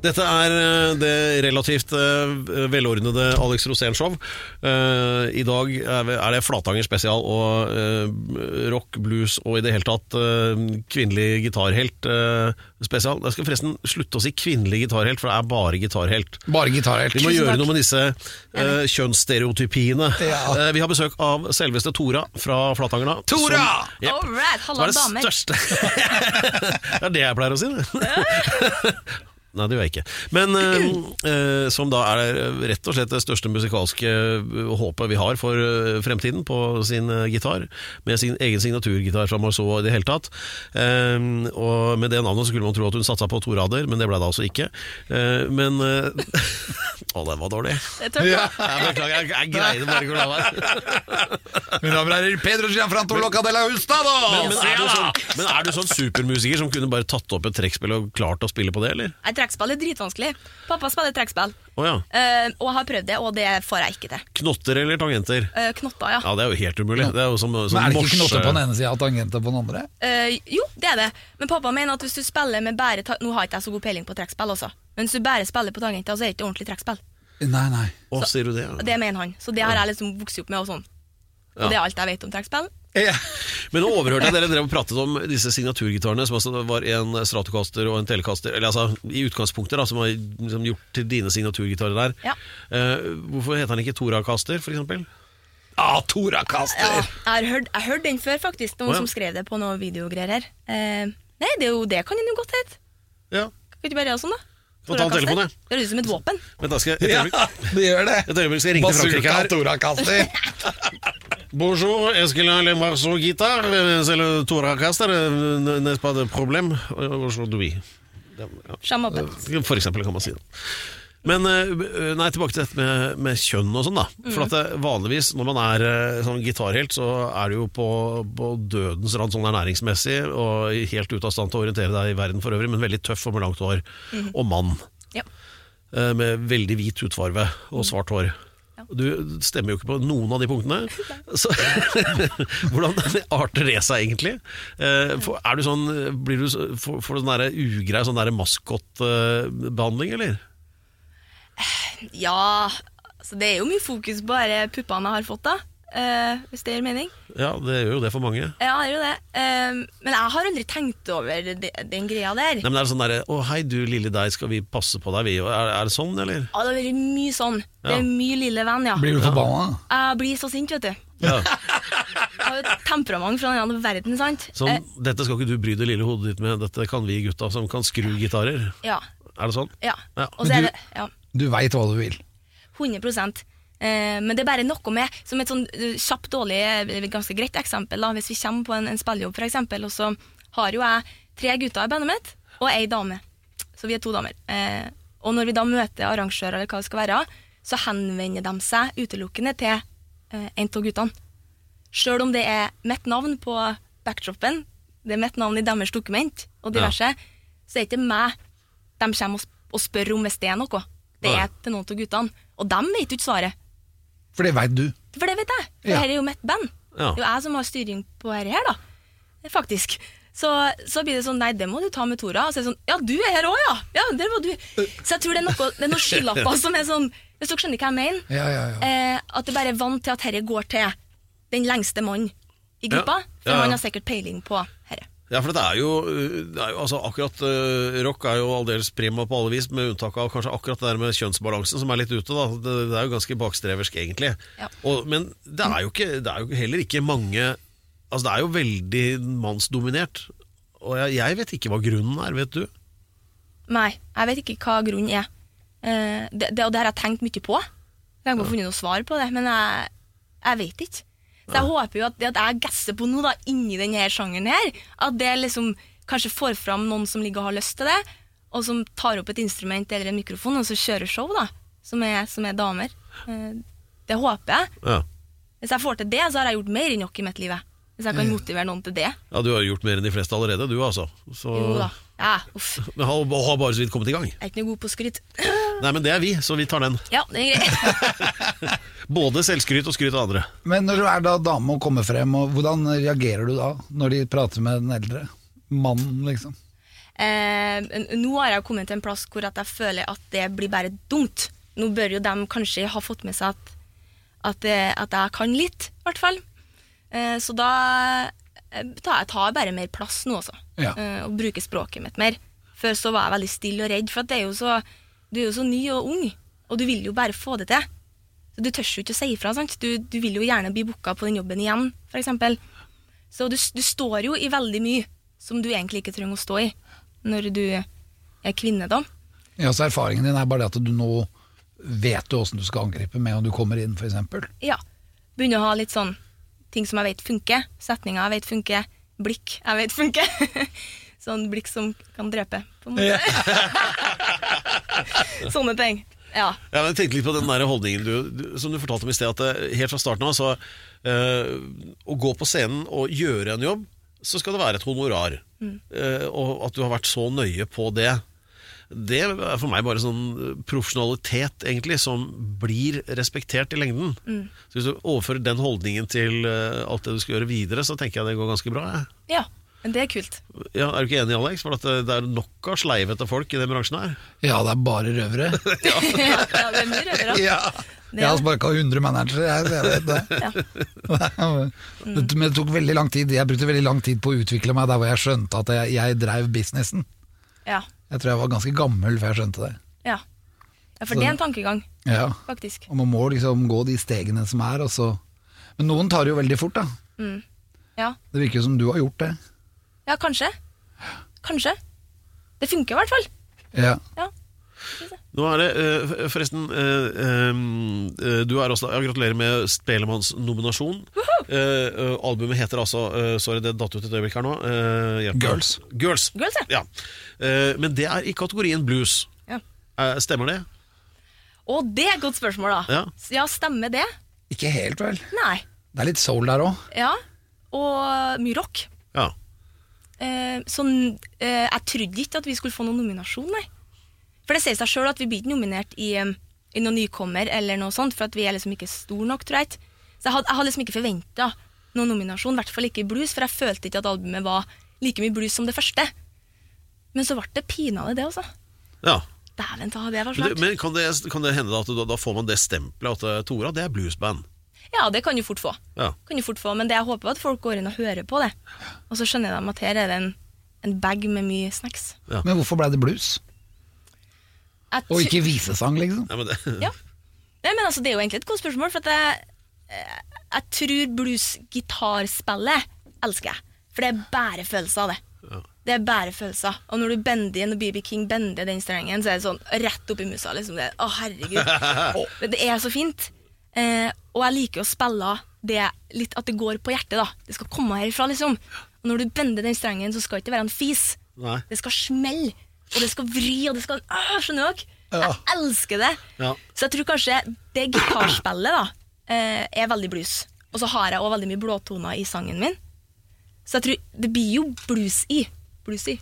B: Dette er eh, det relativt eh, velordnede Alex Rosén-show. Eh, I dag er vi- er det Flatanger spesial og eh, rock, blues og i det hele tatt eh, kvinnelig gitarhelt eh, spesial. Jeg skal forresten slutte å si kvinnelig gitarhelt, for det er bare gitarhelt.
A: Bare gitarhelt.
B: Vi må gjøre noe med disse eh, kjønnsstereotypiene.
A: Ja.
B: Eh, vi har besøk av selveste Tora fra Flatanger. da,
A: Tora!
B: som- Jep.
D: All right, halla,
B: Det var det
D: damer.
B: største Det er det jeg pleier å si, det. Nei, det gjør jeg ikke. Men eh, eh, som da er rett og slett det største musikalske eh, håpet vi har for eh, fremtiden på sin eh, gitar, med sin egen signaturgitar fra Marceau i det hele tatt. Eh, og med det navnet så skulle man tro at hun satsa på to rader, men det ble det altså ikke. Eh, men eh, Å, den var dårlig.
D: Det tør jeg.
B: Jeg beklager, jeg, jeg greide bare ikke å la være.
A: Mine damer og herrer, Pedro Gianfranto Locadella Hustado!
B: Men, men, er du sånn, men er du sånn supermusiker som kunne bare tatt opp et trekkspill og klart å spille på det, eller?
D: Nei, Trekkspill er dritvanskelig. Pappa spiller trekkspill,
B: Å ja.
D: Eh, og jeg har prøvd det, og det får jeg ikke til.
B: Knotter eller tangenter?
D: Eh, knotter, ja.
B: Ja, det er jo helt umulig. Det er jo som, som
A: Men er det ikke
B: morse-
A: knotter på den ene sida og tangenter på den andre?
D: Eh, jo, det er det. Men pappa mener at hvis du spiller med bare ta Nå har ikke jeg så god peiling på trekkspill, også. Men hvis du bare spiller på tangenter, så er det ikke ordentlig trekkspill.
A: Nei, nei.
B: Å, sier du det? ja.
D: Og Det mener han. Så det har jeg liksom vokst opp med, og sånn. Og
B: Ja.
D: det er alt jeg vet om trekkspill.
A: Ja.
B: Men nå overhørte jeg dere drev og pratet om disse signaturgitarene, som altså var en Stratocaster og en Telecaster, eller altså i utgangspunktet, da, som var liksom gjort til dine signaturgitarer der.
D: Ja.
B: Eh, hvorfor heter den ikke Toracaster, for eksempel?
A: Ah, Tora Kaster!
D: Ja, jeg har hørt, jeg hørte den før, faktisk. Noen
B: Å, ja.
D: som skrev det på noen videogreier her. Eh, nei, det er jo det kan den jo godt hete.
B: Ja.
D: Kan ikke bare gjøre sånn, da?
B: Kan ta en
D: Torakaster.
B: telefon, jeg.
D: Det høres ut som et våpen.
B: Vent, da skal jeg et øyeblikk.
A: det gjør det.
B: Et øyeblikk skal jeg ringe til Frankrike her.
A: Tora Kaster.
B: Bonjour, est-ce que la marceau guitar, Euh, c'est le Toracaster, n'est pas de problème Euh, aujourd'hui?
D: Skjemme åpent.
B: For eksempel kan man si det. Men eh, nei, tilbake til dette med, med kjønn og sånn, da. For at det, vanligvis når man er eh, sånn gitarhelt, så er du jo på, på dødens rand sånn ernæringsmessig, og helt ute av stand til å orientere deg i verden for øvrig, men veldig tøff og med langt hår. Og mann.
D: Ja.
B: eh, Med veldig hvit hudfarve og svart hår. Du stemmer jo ikke på noen av de punktene. Så, hvordan arter det seg egentlig? Eh, for- Er du sånn, blir du, så- får får du sånn der ugrei sånn der maskotbehandling, eller?
D: Ja, altså det er jo mye fokus på bare puppene jeg har fått, da. eh, hvis det gir mening.
B: Ja, det gjør jo det for mange.
D: Ja, det er jo det. Eh, men jeg har aldri tenkt over de, den greia der.
B: Nei, men er det sånn derre 'Å hei, du lille deg, skal vi passe på deg, vi?' Og Er, er det sånn, eller?
D: Ja, det har vært mye sånn. Det
B: Ja.
D: er mye lille venn, ja.
A: Blir du forbanna?
D: Jeg blir så sint, vet du.
B: Ja.
D: Jeg har jo et temperament fra en annen verden, sant?
B: Sånn,
D: Eh,
B: 'Dette skal ikke du bry det lille hodet ditt med, dette kan vi gutta som kan skru gitarer'.
D: ja.
B: Er det sånn?
D: ja.
B: Ja.
D: Og så
A: Men
D: er
A: du-
D: det ja,
A: Du veit hva du vil.
D: 100 Eh, men det er bare noe med Som et sånn eh, kjapt, dårlig, eh, ganske greit eksempel, da. hvis vi kommer på en, en spillejobb, f.eks., og så har jo jeg tre gutter i bandet mitt og ei dame. Så vi er to damer. Eh, og når vi da møter arrangører, eller hva det skal være, så henvender de seg utelukkende til eh, en av guttene. Sjøl om det er mitt navn på backdropen, det er mitt navn i deres dokument og diverse, så er det ikke meg de kommer og og spørre om hvis det er noe. Det
B: Nei.
D: er til noen av guttene. Og dem vet jo ikke svaret.
A: For det veit du.
D: For det vet jeg. For
A: Ja.
D: dette er jo mitt band.
B: Ja.
D: Det er jo jeg som har styring på dette her, da. Faktisk. Så, så blir det sånn Nei, det må du ta med Tora. Og så er det sånn Ja, du er her òg, ja! ja der var du. Så jeg tror det er noe, det er noen skylapper som er sånn Hvis dere skjønner hva jeg mener?
A: Ja, ja, ja.
D: Eh, at det bare er vant til at dette går til den lengste mannen i gruppa. For
B: Ja, ja.
D: han har sikkert peiling på dette.
B: Ja, for det er jo, det er jo altså akkurat eh, Rock er jo aldeles prima på alle vis, med unntak av kanskje akkurat det der med kjønnsbalansen som er litt ute. da Det, det er jo ganske bakstreversk, egentlig.
D: Ja.
B: Og, men det er, jo ikke, det er jo heller ikke mange Altså, det er jo veldig mannsdominert. Og jeg, jeg vet ikke hva grunnen er, vet du?
D: Nei, jeg vet ikke hva grunnen er. Eh, det, det, og det har jeg tenkt mye på. Jeg har ikke funnet noe svar på det, men jeg, jeg vet ikke. Så jeg håper jo at det at jeg gasser på noe da, inni denne sjangeren her, at det liksom kanskje får fram noen som ligger og har lyst til det, og som tar opp et instrument eller en mikrofon, og så kjører show, da, som er, som er damer. Eh, det håper jeg.
B: Ja.
D: Hvis jeg får til det, så har jeg gjort mer enn nok i mitt liv. jeg. Hvis jeg kan motivere noen til det.
B: ja, du har gjort mer enn de fleste allerede, du altså. Så,
D: Jo da. Ja, uff. Jeg
B: Men har, har bare så vidt kommet i gang.
D: er ikke noe god på skryt.
B: Nei, men det er vi, så vi tar den.
D: Ja, det er greit.
B: Både selvskryt og skryt av andre.
A: Men når du er da dame og kommer frem, og hvordan reagerer du da når de prater med den eldre? Mannen, liksom.
D: Eh, n- nå har jeg kommet til en plass hvor at jeg føler at det blir bare dumt. Nå bør jo de kanskje ha fått med seg at, at, eh, at jeg kan litt, i hvert fall. Eh, så da eh, tar jeg tar bare mer plass nå, altså.
A: Ja.
D: Eh, og bruker språket mitt mer. Før så var jeg veldig stille og redd, for at det er jo så, du er jo så ny og ung, og du vil jo bare få det til. Så Du tør jo ikke å si ifra. sant? Du, du vil jo gjerne bli booka på den jobben igjen, f.eks. Så du, du står jo i veldig mye som du egentlig ikke trenger å stå i når du er kvinne, da.
A: Ja, så erfaringen din er bare det at du nå vet du åssen du skal angripe med om du kommer inn, f.eks.
D: Ja. Begynner å ha litt sånn ting som jeg vet funker. Setninger jeg vet funker. Blikk jeg vet funker. sånn blikk som kan drepe, på en måte. Sånne ting. Ja.
B: Ja, men jeg tenkte litt på den der holdningen du, du, som du fortalte om i sted. At eh, helt fra starten av, så eh, Å gå på scenen og gjøre en jobb, så skal det være et honorar. Eh, og at du har vært så nøye på det. Det er for meg bare sånn profesjonalitet, egentlig, som blir respektert i lengden. Så hvis du overfører den holdningen til eh, alt det du skal gjøre videre, så tenker jeg det går ganske bra. Jeg.
D: ja. Men det er kult.
B: Ja, er du ikke enig, Alex? For at eh, det det er nok av sleivete folk i den bransjen her.
A: Ja, det er bare røvere.
D: ja, det er mye rødere. da.
A: ja. Jeg har sparka 100 managere, jeg, jeg vet det. Det- Men det tok veldig lang tid. Jeg brukte veldig lang tid på å utvikle meg der hvor jeg skjønte at jeg, jeg drev businessen.
D: Ja.
A: Jeg tror jeg var ganske gammel før jeg skjønte det.
D: ja. Ja, For det er en tankegang,
A: Ja.
D: faktisk.
A: Og man må liksom gå de stegene som er, og så Men noen tar det jo veldig fort, da.
D: Ja.
A: Det virker jo som du har gjort det.
D: Ja, kanskje. Kanskje. Det funker i hvert fall.
A: Ja.
D: Ja.
B: Nå er det, eh, forresten eh, eh, Du er også ja, Gratulerer med Spelemannsnominasjon. Uh, albumet heter altså eh, Sorry, det datt ut et øyeblikk her nå. eh, hjelp meg.
A: Girls.
B: Girls.
D: Girls, ja.
B: ja. Eh, men det er i kategorien blues.
D: Ja.
B: Eh, stemmer det?
D: Og det er et godt spørsmål, da.
B: Ja.
D: S- ja stemmer det?
A: Ikke helt, vel.
D: Nei.
A: Det er litt soul der òg.
D: Ja. Og mye rock.
B: Ja.
D: Eh, så eh, jeg trodde ikke at vi skulle få noen nominasjon, nei. For det sier seg sjøl at vi blir ikke nominert i, eh, i noen nykommer eller noe sånt, for at vi er liksom ikke store nok, tror jeg. ikke. Så jeg hadde, jeg hadde liksom ikke forventa noen nominasjon, i hvert fall ikke i blues, for jeg følte ikke at albumet var like mye blues som det første. Men så ble det pinadø det, altså.
B: ja.
D: Dæven ta, det var
B: Men,
D: svært.
B: det, men kan, det, kan det hende da at du, da får man det stempelet at eh, Tora, det er bluesband?
D: Ja, det kan du fort få.
B: Ja.
D: Kan du fort få. Men det jeg håper er at folk går inn og hører på det. Og så skjønner de at her er det en, en bag med mye snacks.
A: Men hvorfor blei det blues?
D: Jeg
A: Og
D: tr-
A: ikke visesang, liksom?
B: Nei, men det,
D: Ja. Nei, men altså, det er jo egentlig et godt spørsmål, for at jeg, eh, jeg tror blues-gitarspillet elsker jeg. For det er bare følelser av det. Det er bare følelser. Og når du bender inn, og BB King bender den strengen, så er det sånn rett opp i musa. Liksom. Det, er- å, herregud. Men det er så fint. Eh, og jeg liker å spille det litt at det går på hjertet, da. Det skal komme herifra, liksom. Og når du bender den strengen, så skal det ikke være en fis.
B: Nei.
D: Det skal smelle, og det skal vri, og det skal ah, Skjønner dere?
A: Ja.
D: Jeg elsker det.
B: Ja.
D: Så jeg tror kanskje det gitarspillet da, eh, er veldig blues. Og så har jeg også veldig mye blåtoner i sangen min. Så jeg tror det blir jo blues i. Blues i.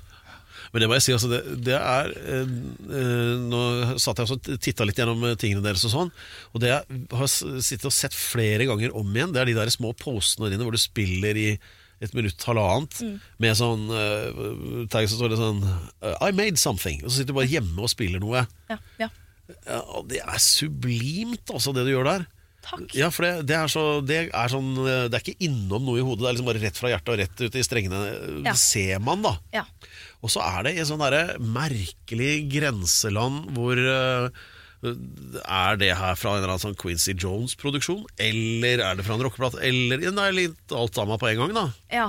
B: Men det må jeg si, altså, det, det er eh, eh, Nå satt jeg og titta litt gjennom eh, tingene deres og sånn, og det jeg har s- sittet og sett flere ganger om igjen, det er de der små postene dine hvor du spiller i et minutt, halvannet,
D: Mm.
B: med sånn eh, tag så står det sånn I made something, og så sitter du bare hjemme og spiller noe.
D: Ja, ja.
B: Ja, og det er sublimt, altså, det du gjør der.
D: Takk.
B: Ja, for det, det, er så, det er sånn eh, Det er ikke innom noe i hodet, det er liksom bare rett fra hjertet og rett ut i strengene.
D: Ja.
B: Ser man, da.
D: Ja.
B: Og så er det i sånn derre merkelig grenseland hvor eh, Er det her fra en eller annen sånn Quincy Jones-produksjon? Eller er det fra en rockeplate? Eller ja, Det er litt alt sammen på en gang, da.
D: ja.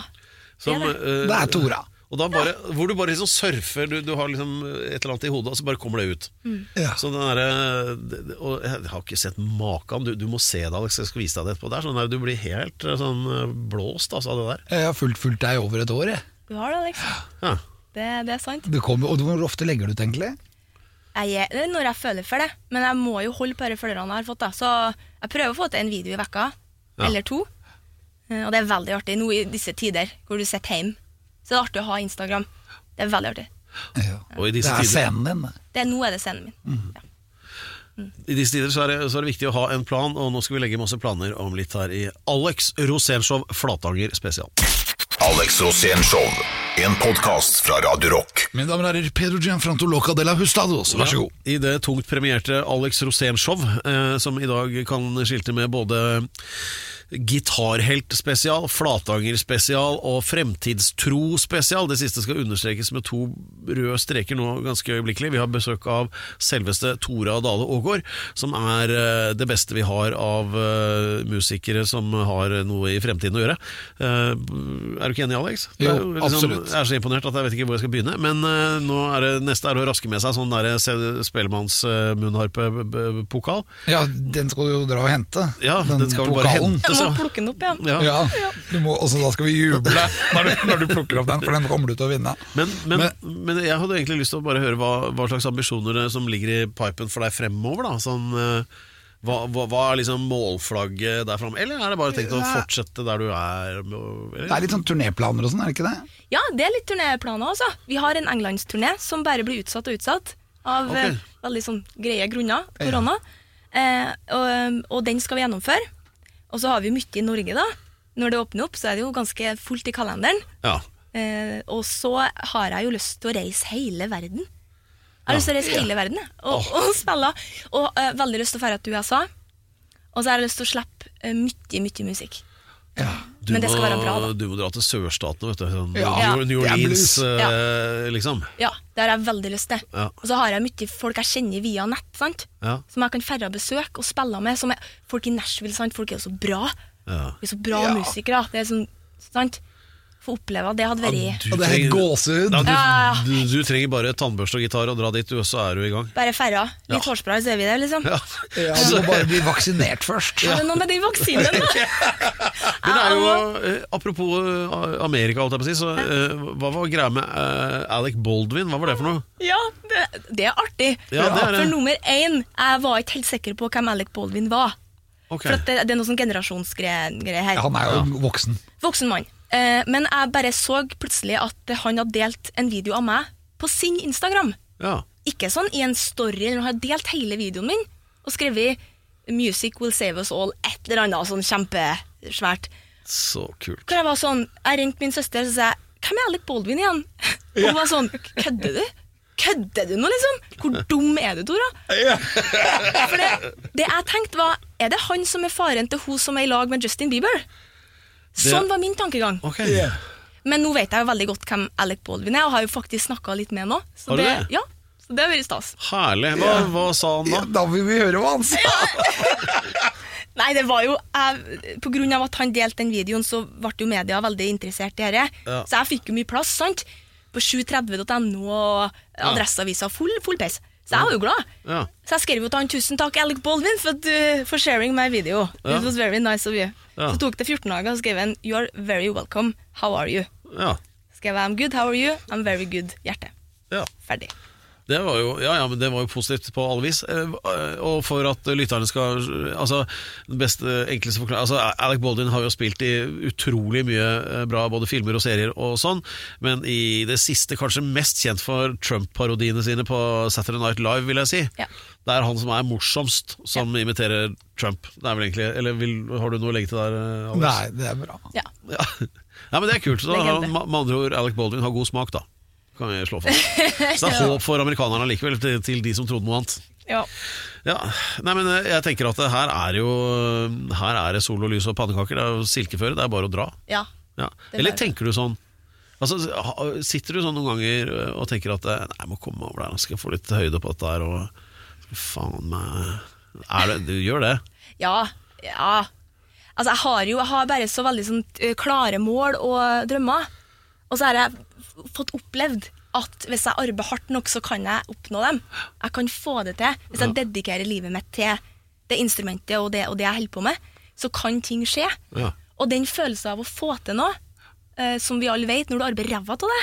B: Som,
D: Det er
B: eh,
A: Det er Tora.
B: og da bare, Hvor du bare liksom surfer, du, du har liksom et eller annet i hodet, og så bare kommer det ut.
D: Mm.
A: Ja.
B: Så den derre- det- det- og Jeg har ikke sett maken. Du, du må se det, Alex. Jeg skal vise deg det etterpå. Det er sånn der, du blir helt eh, sånn eh, blåst altså, av det der.
A: Jeg har fulgt, fulgt deg i over et år, jeg.
D: Du har det, Alex.
B: Ja.
D: Det, det er sant.
A: Du kommer, og hvor ofte legger du ut, egentlig?
D: Jeg, er- det er når jeg føler for det, men jeg må jo holde på de følgerne jeg har fått. Da. Så jeg prøver å få til en video i vekka,
B: Ja.
D: eller to. Eh, Og det er veldig artig nå i disse tider hvor du sitter hjemme. Så det er artig å ha Instagram. Det er veldig artig.
A: Ja.
B: Og i
A: Det
B: disse
A: er
B: tider
A: scenen din. det.
D: Det er, nå er det scenen min.
B: Mm.
D: Ja.
B: I disse tider så er, det, så er det viktig å ha en plan, og nå skal vi legge masse planer om litt her i Alex Rosénshow Flatanger spesial.
C: Alex Rosénshow. En podkast fra Radio Rock.
A: Mine damer og herrer, Pedro Gianfranto Loca de la Hustados, vær så god.
B: I det tungt premierte Alex Rosénshow, eh, som i dag kan skilte med både Gitarhelt-spesial, Flatanger-spesial og Fremtidstro-spesial. Det siste skal understrekes med to røde streker nå ganske øyeblikkelig. Vi har besøk av selveste Tora Dale Aagaard, som er eh, det beste vi har av eh, musikere som har noe i fremtiden å gjøre. Eh, Er du ikke enig, Alex? Det er liksom
A: Jo, absolutt.
B: Jeg er så imponert at jeg vet ikke hvor jeg skal begynne. Men eh, nå er det, neste er å raske med seg sånn der se- eh, spellemannsmunnharpe-pokal.
A: Ja, den skal du jo dra og hente.
B: Ja, den skal vel bare
A: pokalen.
B: hentes,
D: Jeg må
B: ja.
D: plukke den opp, ja.
B: Ja.
A: Ja, du må, og så da skal vi juble når du, når du plukker opp den, for den kommer du til å vinne.
B: Men, men, men jeg hadde egentlig lyst til å bare høre hva, hva slags ambisjoner det er som ligger i pipen for deg fremover. da sånn, eh, hva, hva, hva er liksom målflagget der framme? Eller er det bare tenkt å
A: Nei.
B: fortsette der du er? med å-
A: Det
B: Eller?
A: er litt sånn turnéplaner og sånn, er det ikke det?
D: Ja, det er litt turnéplaner også. Vi har en englandsturné som bare blir utsatt og utsatt av
B: Ok.
D: eh, veldig sånn greie grunner, korona. Eh, og, og den skal vi gjennomføre. Og så har vi mye i Norge, da. Når det åpner opp, så er det jo ganske fullt i kalenderen.
B: Ja.
D: Eh, og så har jeg jo lyst til å reise hele verden. Jeg har lyst til å reise hele verden jeg, og, og spille. Og eh, veldig lyst til å dra til USA. Og så har jeg lyst til å slippe eh, mye, mye musikk.
A: Ja.
B: Du,
D: Men det skal
B: må,
D: være bra, da.
B: du må dra til sørstatene, vet du. Sånn,
A: Ja.
B: New, New
A: Det er
B: Orleans,
A: blues.
B: eh, liksom.
D: Ja, det har jeg veldig lyst til.
B: Ja.
D: Og så har jeg mye folk jeg kjenner via nett, sant?
B: Ja.
D: som jeg kan færre besøke og spille med. Som er, folk i Nashville, sant? folk er jo så bra.
B: Ja.
D: De er så bra
A: Ja.
D: musikere. Det er sånn, sant? Få oppleve at det hadde vært
B: Du
A: Og det er helt
B: trenger-
A: gåsehud.
B: Ja,
D: Ja.
B: du, du, du trenger bare tannbørste og gitar og dra dit, du, og så er du i gang.
D: bare færre. Litt hårspray, så er vi der, liksom.
B: Ja.
A: Ja, du må bare bli vaksinert først.
D: Er det noe med den vaksinen, da?
B: Men det er jo, eh, apropos eh, Amerika, holdt jeg på å si, så eh, hva var greia med eh, Alec Baldwin? Hva var det for noe?
D: Ja, det, det er artig.
B: Ja, det er det.
D: For nummer én, jeg var ikke helt sikker på hvem Alec Baldwin var.
B: Ok.
D: For at det, det er noe sånn generasjonsgreie her.
A: Han er jo voksen.
D: Voksen mann. Eh, men jeg bare så plutselig at han hadde delt en video av meg på sin Instagram.
B: Ja.
D: ikke sånn i en story, eller han har delt hele videoen min og skrevet 'Music will save us all', et eller annet sånn kjempesvært.
B: Så kult.
D: Hvor jeg var sånn, jeg ringte min søster og sa jeg, 'Hvem er Alec Baldwin igjen?' Og hun var sånn 'Kødder du?' Kødder du nå, liksom? Hvor dum er du, Tora? For det, det jeg tenkte var Er det han som er faren til hun som er i lag med Justin Bieber? Sånn var min tankegang.
B: Ok.
D: Men nå vet jeg jo veldig godt hvem Alec Baldwin er, og har jo faktisk snakka litt med ham nå. Så
B: Har du det?
D: Ja, så det har vært stas.
B: Herlig. Hva, hva sa han da?
A: Ja, da vil vi høre hva han sa!
D: Nei, det var jo jeg, På grunn av at han delte den videoen, så ble jo media veldig interessert i dette.
B: Ja.
D: Så jeg fikk jo mye plass, sant? På 730.no og Adresseavisa. Full, full pes. Så jeg var jo glad.
B: Ja.
D: Så jeg skrev jo til han 'Tusen takk, Alec Baldwin, for, at du- for sharing my video'. It was very nice of you.
B: Ja.
D: Så tok det 14 dager, og skrev han 'You are very welcome. How are you?'
B: Ja.
D: Skrev jeg 'I'm good. How are you?' 'I'm very good.' Hjerte.
B: ja.
D: Ferdig.
B: Det var jo, ja, ja, men det var jo positivt på alle vis. Eh, Og for at lytterne skal Altså, den beste, enkleste forklaringen altså, Alec Baldwin har jo spilt i utrolig mye eh, bra både filmer og serier og sånn, men i det siste kanskje mest kjent for Trump-parodiene sine på Saturday Night Live, vil jeg si.
D: Ja.
B: Det er han som er morsomst, som imiterer Trump. Det er vel egentlig Eller vil, har du noe å legge til der, eh, Alex?
A: Nei, det er bra.
D: Ja.
B: Ja. Nei, men det er kult. Så da har, han- med andre ord, Alec Baldwin har god smak, da. Kan vi slå fast. Så det er håp for amerikanerne likevel, til, til de som trodde noe annet.
D: ja.
B: Ja, nei, men eh, jeg tenker at det her er jo eh, Her er det sol og lys og pannekaker. Det er jo silkeføre, det er bare å dra.
D: ja.
B: Ja.
D: Det
B: Eller
D: er det.
B: tenker du sånn Altså, ha- Sitter du sånn noen ganger eh, og tenker at eh, Nei, jeg må komme over der, jeg skal få litt høyde på dette her, og faen meg er det, Du gjør det?
D: Ja. ja. Altså, jeg har jo jeg har bare så veldig sånn, eh, klare mål og drømmer. Og så har jeg f- fått opplevd at hvis jeg arbeider hardt nok, så kan jeg oppnå dem. Jeg kan få det til. Hvis jeg dedikerer livet mitt til det instrumentet og det, og det jeg holder på med, så kan ting skje.
B: Ja.
D: Og den følelsen av å få til noe, eh, som vi alle vet, når du arbeider ræva av det,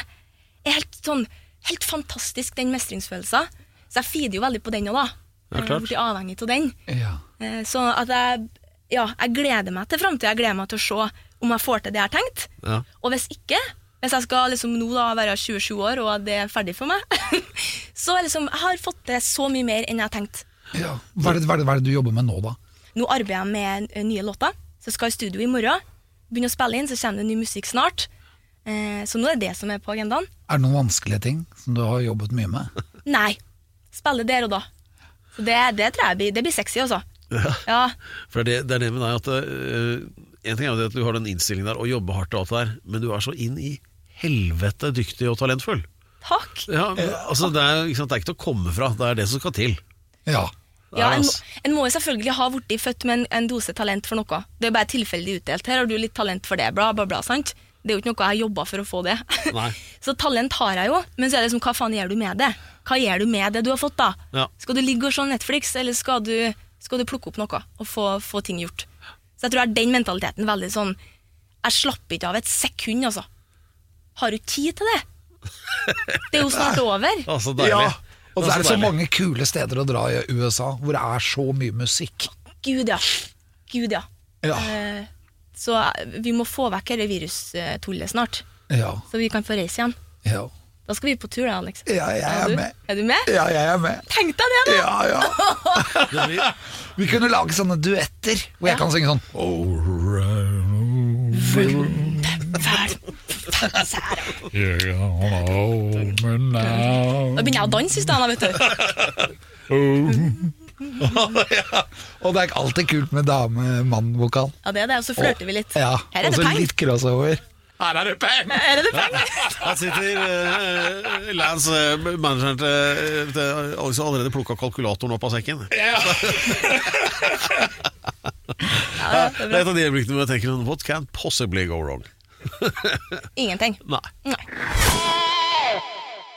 D: er helt, sånn, helt fantastisk, den mestringsfølelsen. Så jeg feeder jo veldig på den òg, da.
B: Ja, klart.
D: Jeg blir avhengig av den.
A: Ja.
D: Eh, Så at jeg, ja, jeg gleder meg til framtida. Jeg gleder meg til å se om jeg får til det jeg har tenkt.
B: Ja.
D: Og hvis ikke, hvis jeg skal liksom nå da være 27 år og det er ferdig for meg, så er liksom, jeg har fått til så mye mer enn jeg har tenkt.
A: Ja. Hva, er det, hva, er det, hva er det du jobber med nå, da?
D: Nå arbeider jeg med eh, nye låter, så jeg skal i studio i morgen. Begynne å spille inn, så kommer det ny musikk snart. Eh, Så nå er det det som er på agendaen.
A: Er det noen vanskelige ting som du har jobbet mye med?
D: Nei. Spille der og da. Så det, det tror jeg blir, det blir sexy, altså. Ja.
B: For det, det er det med deg at øh, En ting er jo det at du har den innstillingen der og jobber hardt og alt det der, men du er så inn i helvete dyktig og talentfull.
D: Takk.
B: Ja, altså det er, ikke sant, det er ikke til å komme fra, det er det som skal til.
A: Ja.
B: Det
D: Ja,
B: er,
D: en,
B: altså.
D: må- en må jo selvfølgelig ha blitt født med en, en dose talent for noe. Det er bare tilfeldig utdelt. Her har du litt talent for det, bla, bla, bla. sant? Det er jo ikke noe jeg har jobba for å få det.
B: Nei.
D: så talent har jeg jo, men så er det liksom, hva faen gjør du med det? Hva gjør du med det du har fått, da?
B: Ja.
D: Skal du ligge og se Netflix, eller skal du, skal du plukke opp noe og få, få ting gjort? Så jeg tror jeg har den mentaliteten veldig sånn Jeg slapper ikke av et sekund, altså. Har du tid til det? Det er jo snart over.
B: altså deilig.
A: Ja. Og så er det så
B: deilig.
A: mange kule steder å dra i USA, hvor det er så mye musikk.
D: Gud, ja. Gud, ja.
A: Ja.
D: Eh, Så vi må få vekk dette virustullet snart,
A: Ja.
D: så vi kan få reise igjen.
A: ja.
D: Da skal vi på tur, da, Alex.
A: Ja, jeg er
D: du?
A: med.
D: Er du med?
A: Ja, jeg er med.
D: Tenk deg det, da!
A: Ja, ja.
B: Det blir-
A: Vi kunne lage sånne duetter, hvor jeg kan synge sånn
D: Da begynner jeg å danse i stedet, vet du.
A: Og det er ikke alltid kult med dame-mann-vokal.
D: Ja, det er det, og så flørter vi litt.
A: Ja,
D: Her er
A: og
D: det
A: så
D: penger!
A: litt crossover. Her er det penger!
D: Her er det penger!
B: Her sitter eh, Lance, eh, manageren til, til Alex, har allerede plukka kalkulatoren opp av sekken.
D: Ja, det
B: Det
D: er
B: er
D: bra.
B: et av de øyeblikkene hvor jeg tenker What can possibly go wrong?
D: Ingenting.
B: Nei.
D: Nei.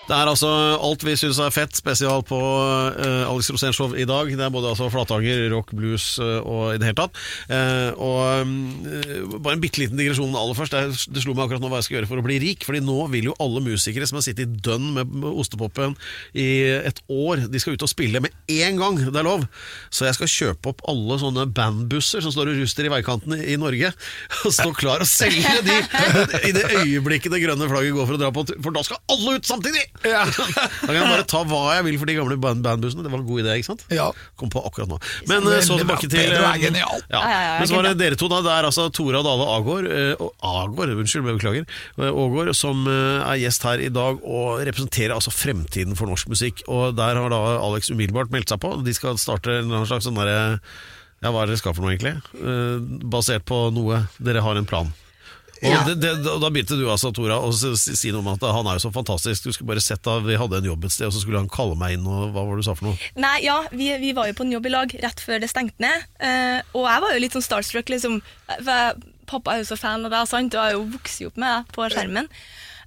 B: Det er altså alt vi syns er fett, spesial på eh, Alex Rosénshow i dag. Det er både altså flatanger, rock, blues eh, og i det hele tatt. Eh, og eh, Bare en bitte liten digresjon aller først. Det, det slo meg akkurat nå hva jeg skal gjøre for å bli rik. Fordi nå vil jo alle musikere som har sittet i dønn med med ostepopen i et år, de skal ut og spille med én gang det er lov. Så jeg skal kjøpe opp alle sånne bandbusser som står og ruster i veikanten i, i Norge, og stå klar og selge de i det øyeblikket det grønne flagget går for å dra på tur, for da skal alle ut samtidig! Da kan jeg bare ta hva jeg vil for de gamle band bandbussene. Det var en god idé, ikke sant?
A: Ja.
B: Kom på akkurat nå. Men eh, så
A: Veldig bra.
B: tilbake til
A: Pedro er
B: eh,
A: genial.
B: Ja.
D: Ja, ja, ja,
B: Men så var det
D: genial.
B: dere to, da. Det er altså Tora Dale Agård, eh, og Agård, unnskyld, jeg beklager, eh, Aagaard, som eh, er gjest her i dag og representerer altså fremtiden for norsk musikk. Og der har da Alex umiddelbart meldt seg på. De skal starte en eller annen slags sånn derre ja, Hva er det dere skal for noe, egentlig? Eh, basert på noe dere har en plan. Og det, det, da da begynte du altså, Tora, å s- s- si noe om at han er jo så fantastisk. Du skulle bare sett da vi hadde en jobb et sted, og så skulle han kalle meg inn, og hva var det du sa for noe?
D: Nei, ja, vi, vi var jo på en jobb i lag rett før det stengte ned. eh, og jeg var jo litt sånn starstruck, liksom. For jeg, pappa er jo så fan av deg, sant? og jeg har jo vokst opp med deg på skjermen.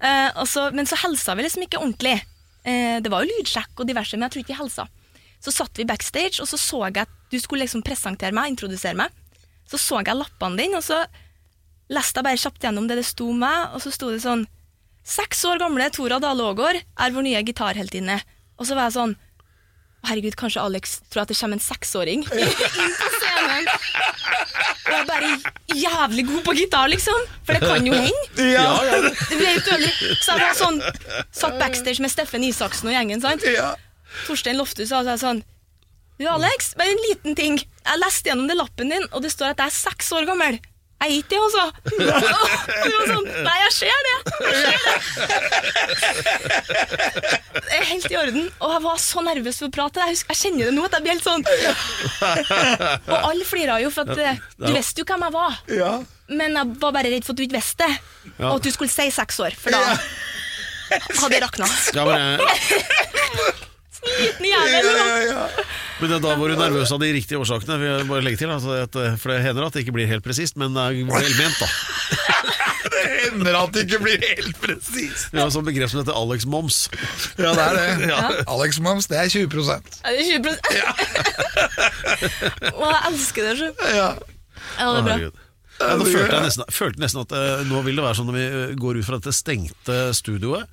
D: Eh, og så, men så helsa vi liksom ikke ordentlig. Eh, det var jo lydsjekk og diverse, men jeg tror ikke vi helsa. Så satt vi backstage, og så så jeg at du skulle liksom presentere meg, introdusere meg. Så så jeg lappene dine, og så leste jeg bare kjapt gjennom det det sto om meg, og så sto det sånn Seks år gamle Tora Dale Aagaard er vår nye gitarheltinne. Og Og så var jeg sånn «Å, Herregud, kanskje Alex tror at det kommer en seksåring inn på scenen. Og jeg er bare jævlig god på gitar, liksom. For det kan jo hende.
B: Ja, ja,
D: Du vet jo aldri. Så jeg var sånn, satt backstage med Steffen Isaksen og gjengen. sant?
A: Ja.
D: Torstein Lofthus sa så jeg sånn Du Alex, bare en liten ting. Jeg leste gjennom det lappen din, og det står at jeg er seks år gammel. Jeg er ikke det, altså. Og det var sånn, Nei, jeg ser det. Jeg ser det. Det er helt i orden. Og jeg var så nervøs for å prate. Jeg, husker, jeg kjenner det nå at jeg blir helt sånn Og alle flira jo, for at eh, du visste jo hvem jeg var.
A: Ja.
D: Men jeg var bare redd for at du ikke visste det, og at du skulle si seks år. For da hadde det rakna.
B: ja men, jeg-
D: Liten jævel.
A: Ja,
D: eller noe.
A: ja, ja.
B: men det- da var du nervøs av de riktige årsakene. vil jeg Bare legge til altså, at, eh, For det hender at det ikke blir helt presist, men det er velment, da.
A: Det hender at det ikke blir helt presist.
B: Vi har et sånt begrep som heter Alex Moms.
A: Ja, det er det. Alex Moms, det er 20
D: Er det 20 Og jeg elsker det. Så.
A: Ja.
D: Ja, det er bra.
B: Herregud. Ja, nå følte jeg nesten, følte nesten at eh, nå vil det være sånn når vi eh, går ut fra dette stengte studioet,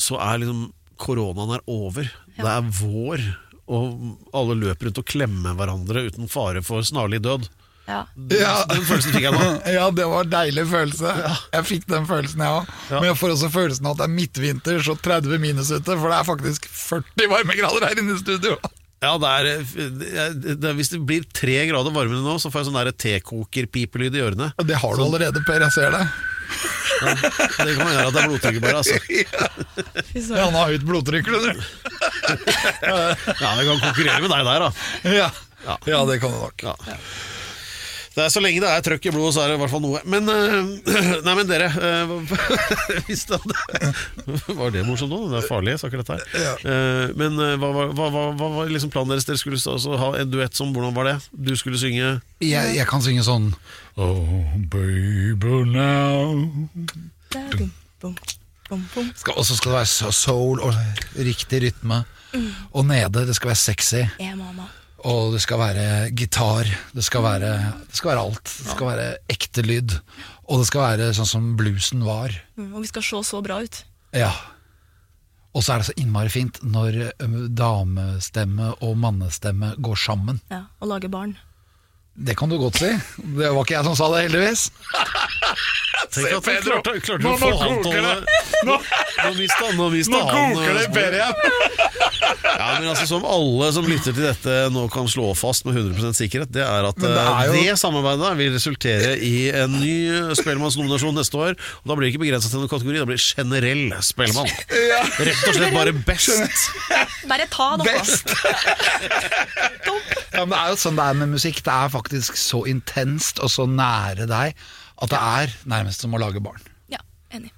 B: så er liksom koronaen er over. Det er vår, og alle løper rundt og klemmer hverandre uten fare for snarlig død.
D: Ja.
A: Ja.
B: Den følelsen fikk jeg nå.
A: ja, det var en deilig følelse. Jeg fikk den følelsen, jeg òg. Men jeg får også følelsen av at det er midtvinter, så 30 minus ute, for det er faktisk 40 varmegrader her inne i studio.
B: Ja, det er, eh, det, det, Hvis det blir tre grader varmere nå, så får jeg sånn der tekokerpipelyd i ørene.
A: Og Det har du allerede, Per. Jeg ser det.
B: Det kan gjøre at det er blodtrykket bare, altså.
A: Ja, han har høyt blodtrykk, skjønner du.
B: Ja, Vi kan konkurrere med deg der, da.
A: Ja. ja, det kan du nok.
B: Ja. Det er Så lenge det er trøkk i blodet, så er det i hvert fall noe. Men, eh, nei, men dere eh, Hvis det hadde Var det morsomt nå? Det er farlig, saker dette her. Eh, men eh, hva, var- hva, hva, hva var liksom planen deres? Dere skulle så- så ha en duett som Hvordan var det? Du skulle synge
A: Jeg, jeg kan synge sånn Oh, baby now
D: Bum, bum, bum, bum.
A: skal, Og så skal det være so- soul og riktig rytme. Og nede, det skal være sexy.
D: Jeg er mamma.
A: Og det skal være gitar. Det skal være, det skal være alt. Det skal være ekte lyd. Og det skal være sånn som bluesen var.
D: Mm, Og vi skal se så bra ut.
A: Ja. Og så er det så innmari fint når ø, damestemme og mannestemme går sammen.
D: Ja, og lage barn.
A: Det kan du godt si. Det var ikke jeg som sa det, heldigvis.
B: Tenk at du
A: Pedro.
B: klarte, klarte du
A: Nå-
B: å få
A: nå
B: han til å
A: koker
B: holde Nå mista han Nå mista han eh, sporet. Ja, men altså Som alle som lytter til dette nå kan slå fast med 100 sikkerhet, det er at
A: Men det er
B: eh,
A: jo-
B: det samarbeidet vil resultere i en ny Spellemannsnominasjon neste år. Og da blir det ikke begrensa til noen kategori, da blir det generell Spellemann. Rett og slett bare best.
D: Bare ta det, altså.
A: Ja, men det er jo sånn det er med musikk. Det er faktisk så intenst og så nære deg at det er nærmest som å lage barn.
D: Ja, enig.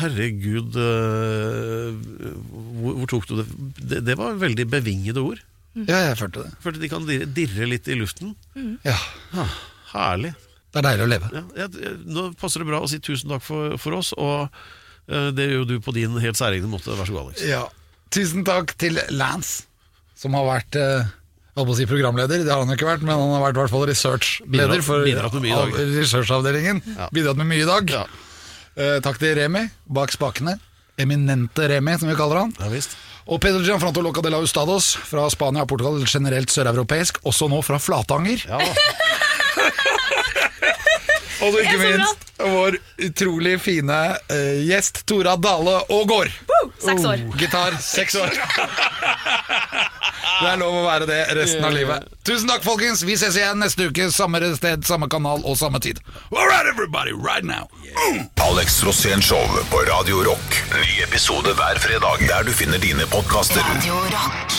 B: Herregud, eh, hvor, hvor tok du det? det? Det var veldig bevingede ord.
A: Ja, jeg følte det.
B: Følte de kan dirre, dirre litt i luften.
A: Ja,
B: Ah, herlig.
A: Det er deilig å leve.
B: Ja, jeg, jeg, nå passer det bra å si tusen takk for, for oss, og eh, det gjør jo du på din helt særegne måte. Vær så god, Alex.
A: Ja. Tusen takk til Lance, som har vært eh, jeg holdt på å si programleder, det har han jo ikke vært, men han har vært i hvert fall researchleder
B: Bidratt-
A: for
B: bidratt med mye i dag.
A: av- researchavdelingen. Bidratt med mye i dag.
B: Ja.
A: Eh, takk til Remi bak spakene. Eminente Remi, som vi kaller han.
B: Ja, visst.
A: Og Pedro Gianfranto Loca de la Ustados fra Spania og Portugal, generelt søreuropeisk, også nå fra Flatanger.
B: Ja,
A: Og så ikke
D: Det er så
A: minst vår utrolig fine eh, gjest Tora Dale Aagaard.
D: Seks år.
A: Oh, gitar, seks år. Det er lov å være det resten av livet. Tusen takk, folkens. Vi ses igjen neste uke. Samme sted, samme kanal og samme tid. All right, everybody, right now.
C: Alex Rosén Show på Radio Rock. Ny episode hver fredag der du finner dine podkaster.
E: Radio Rock.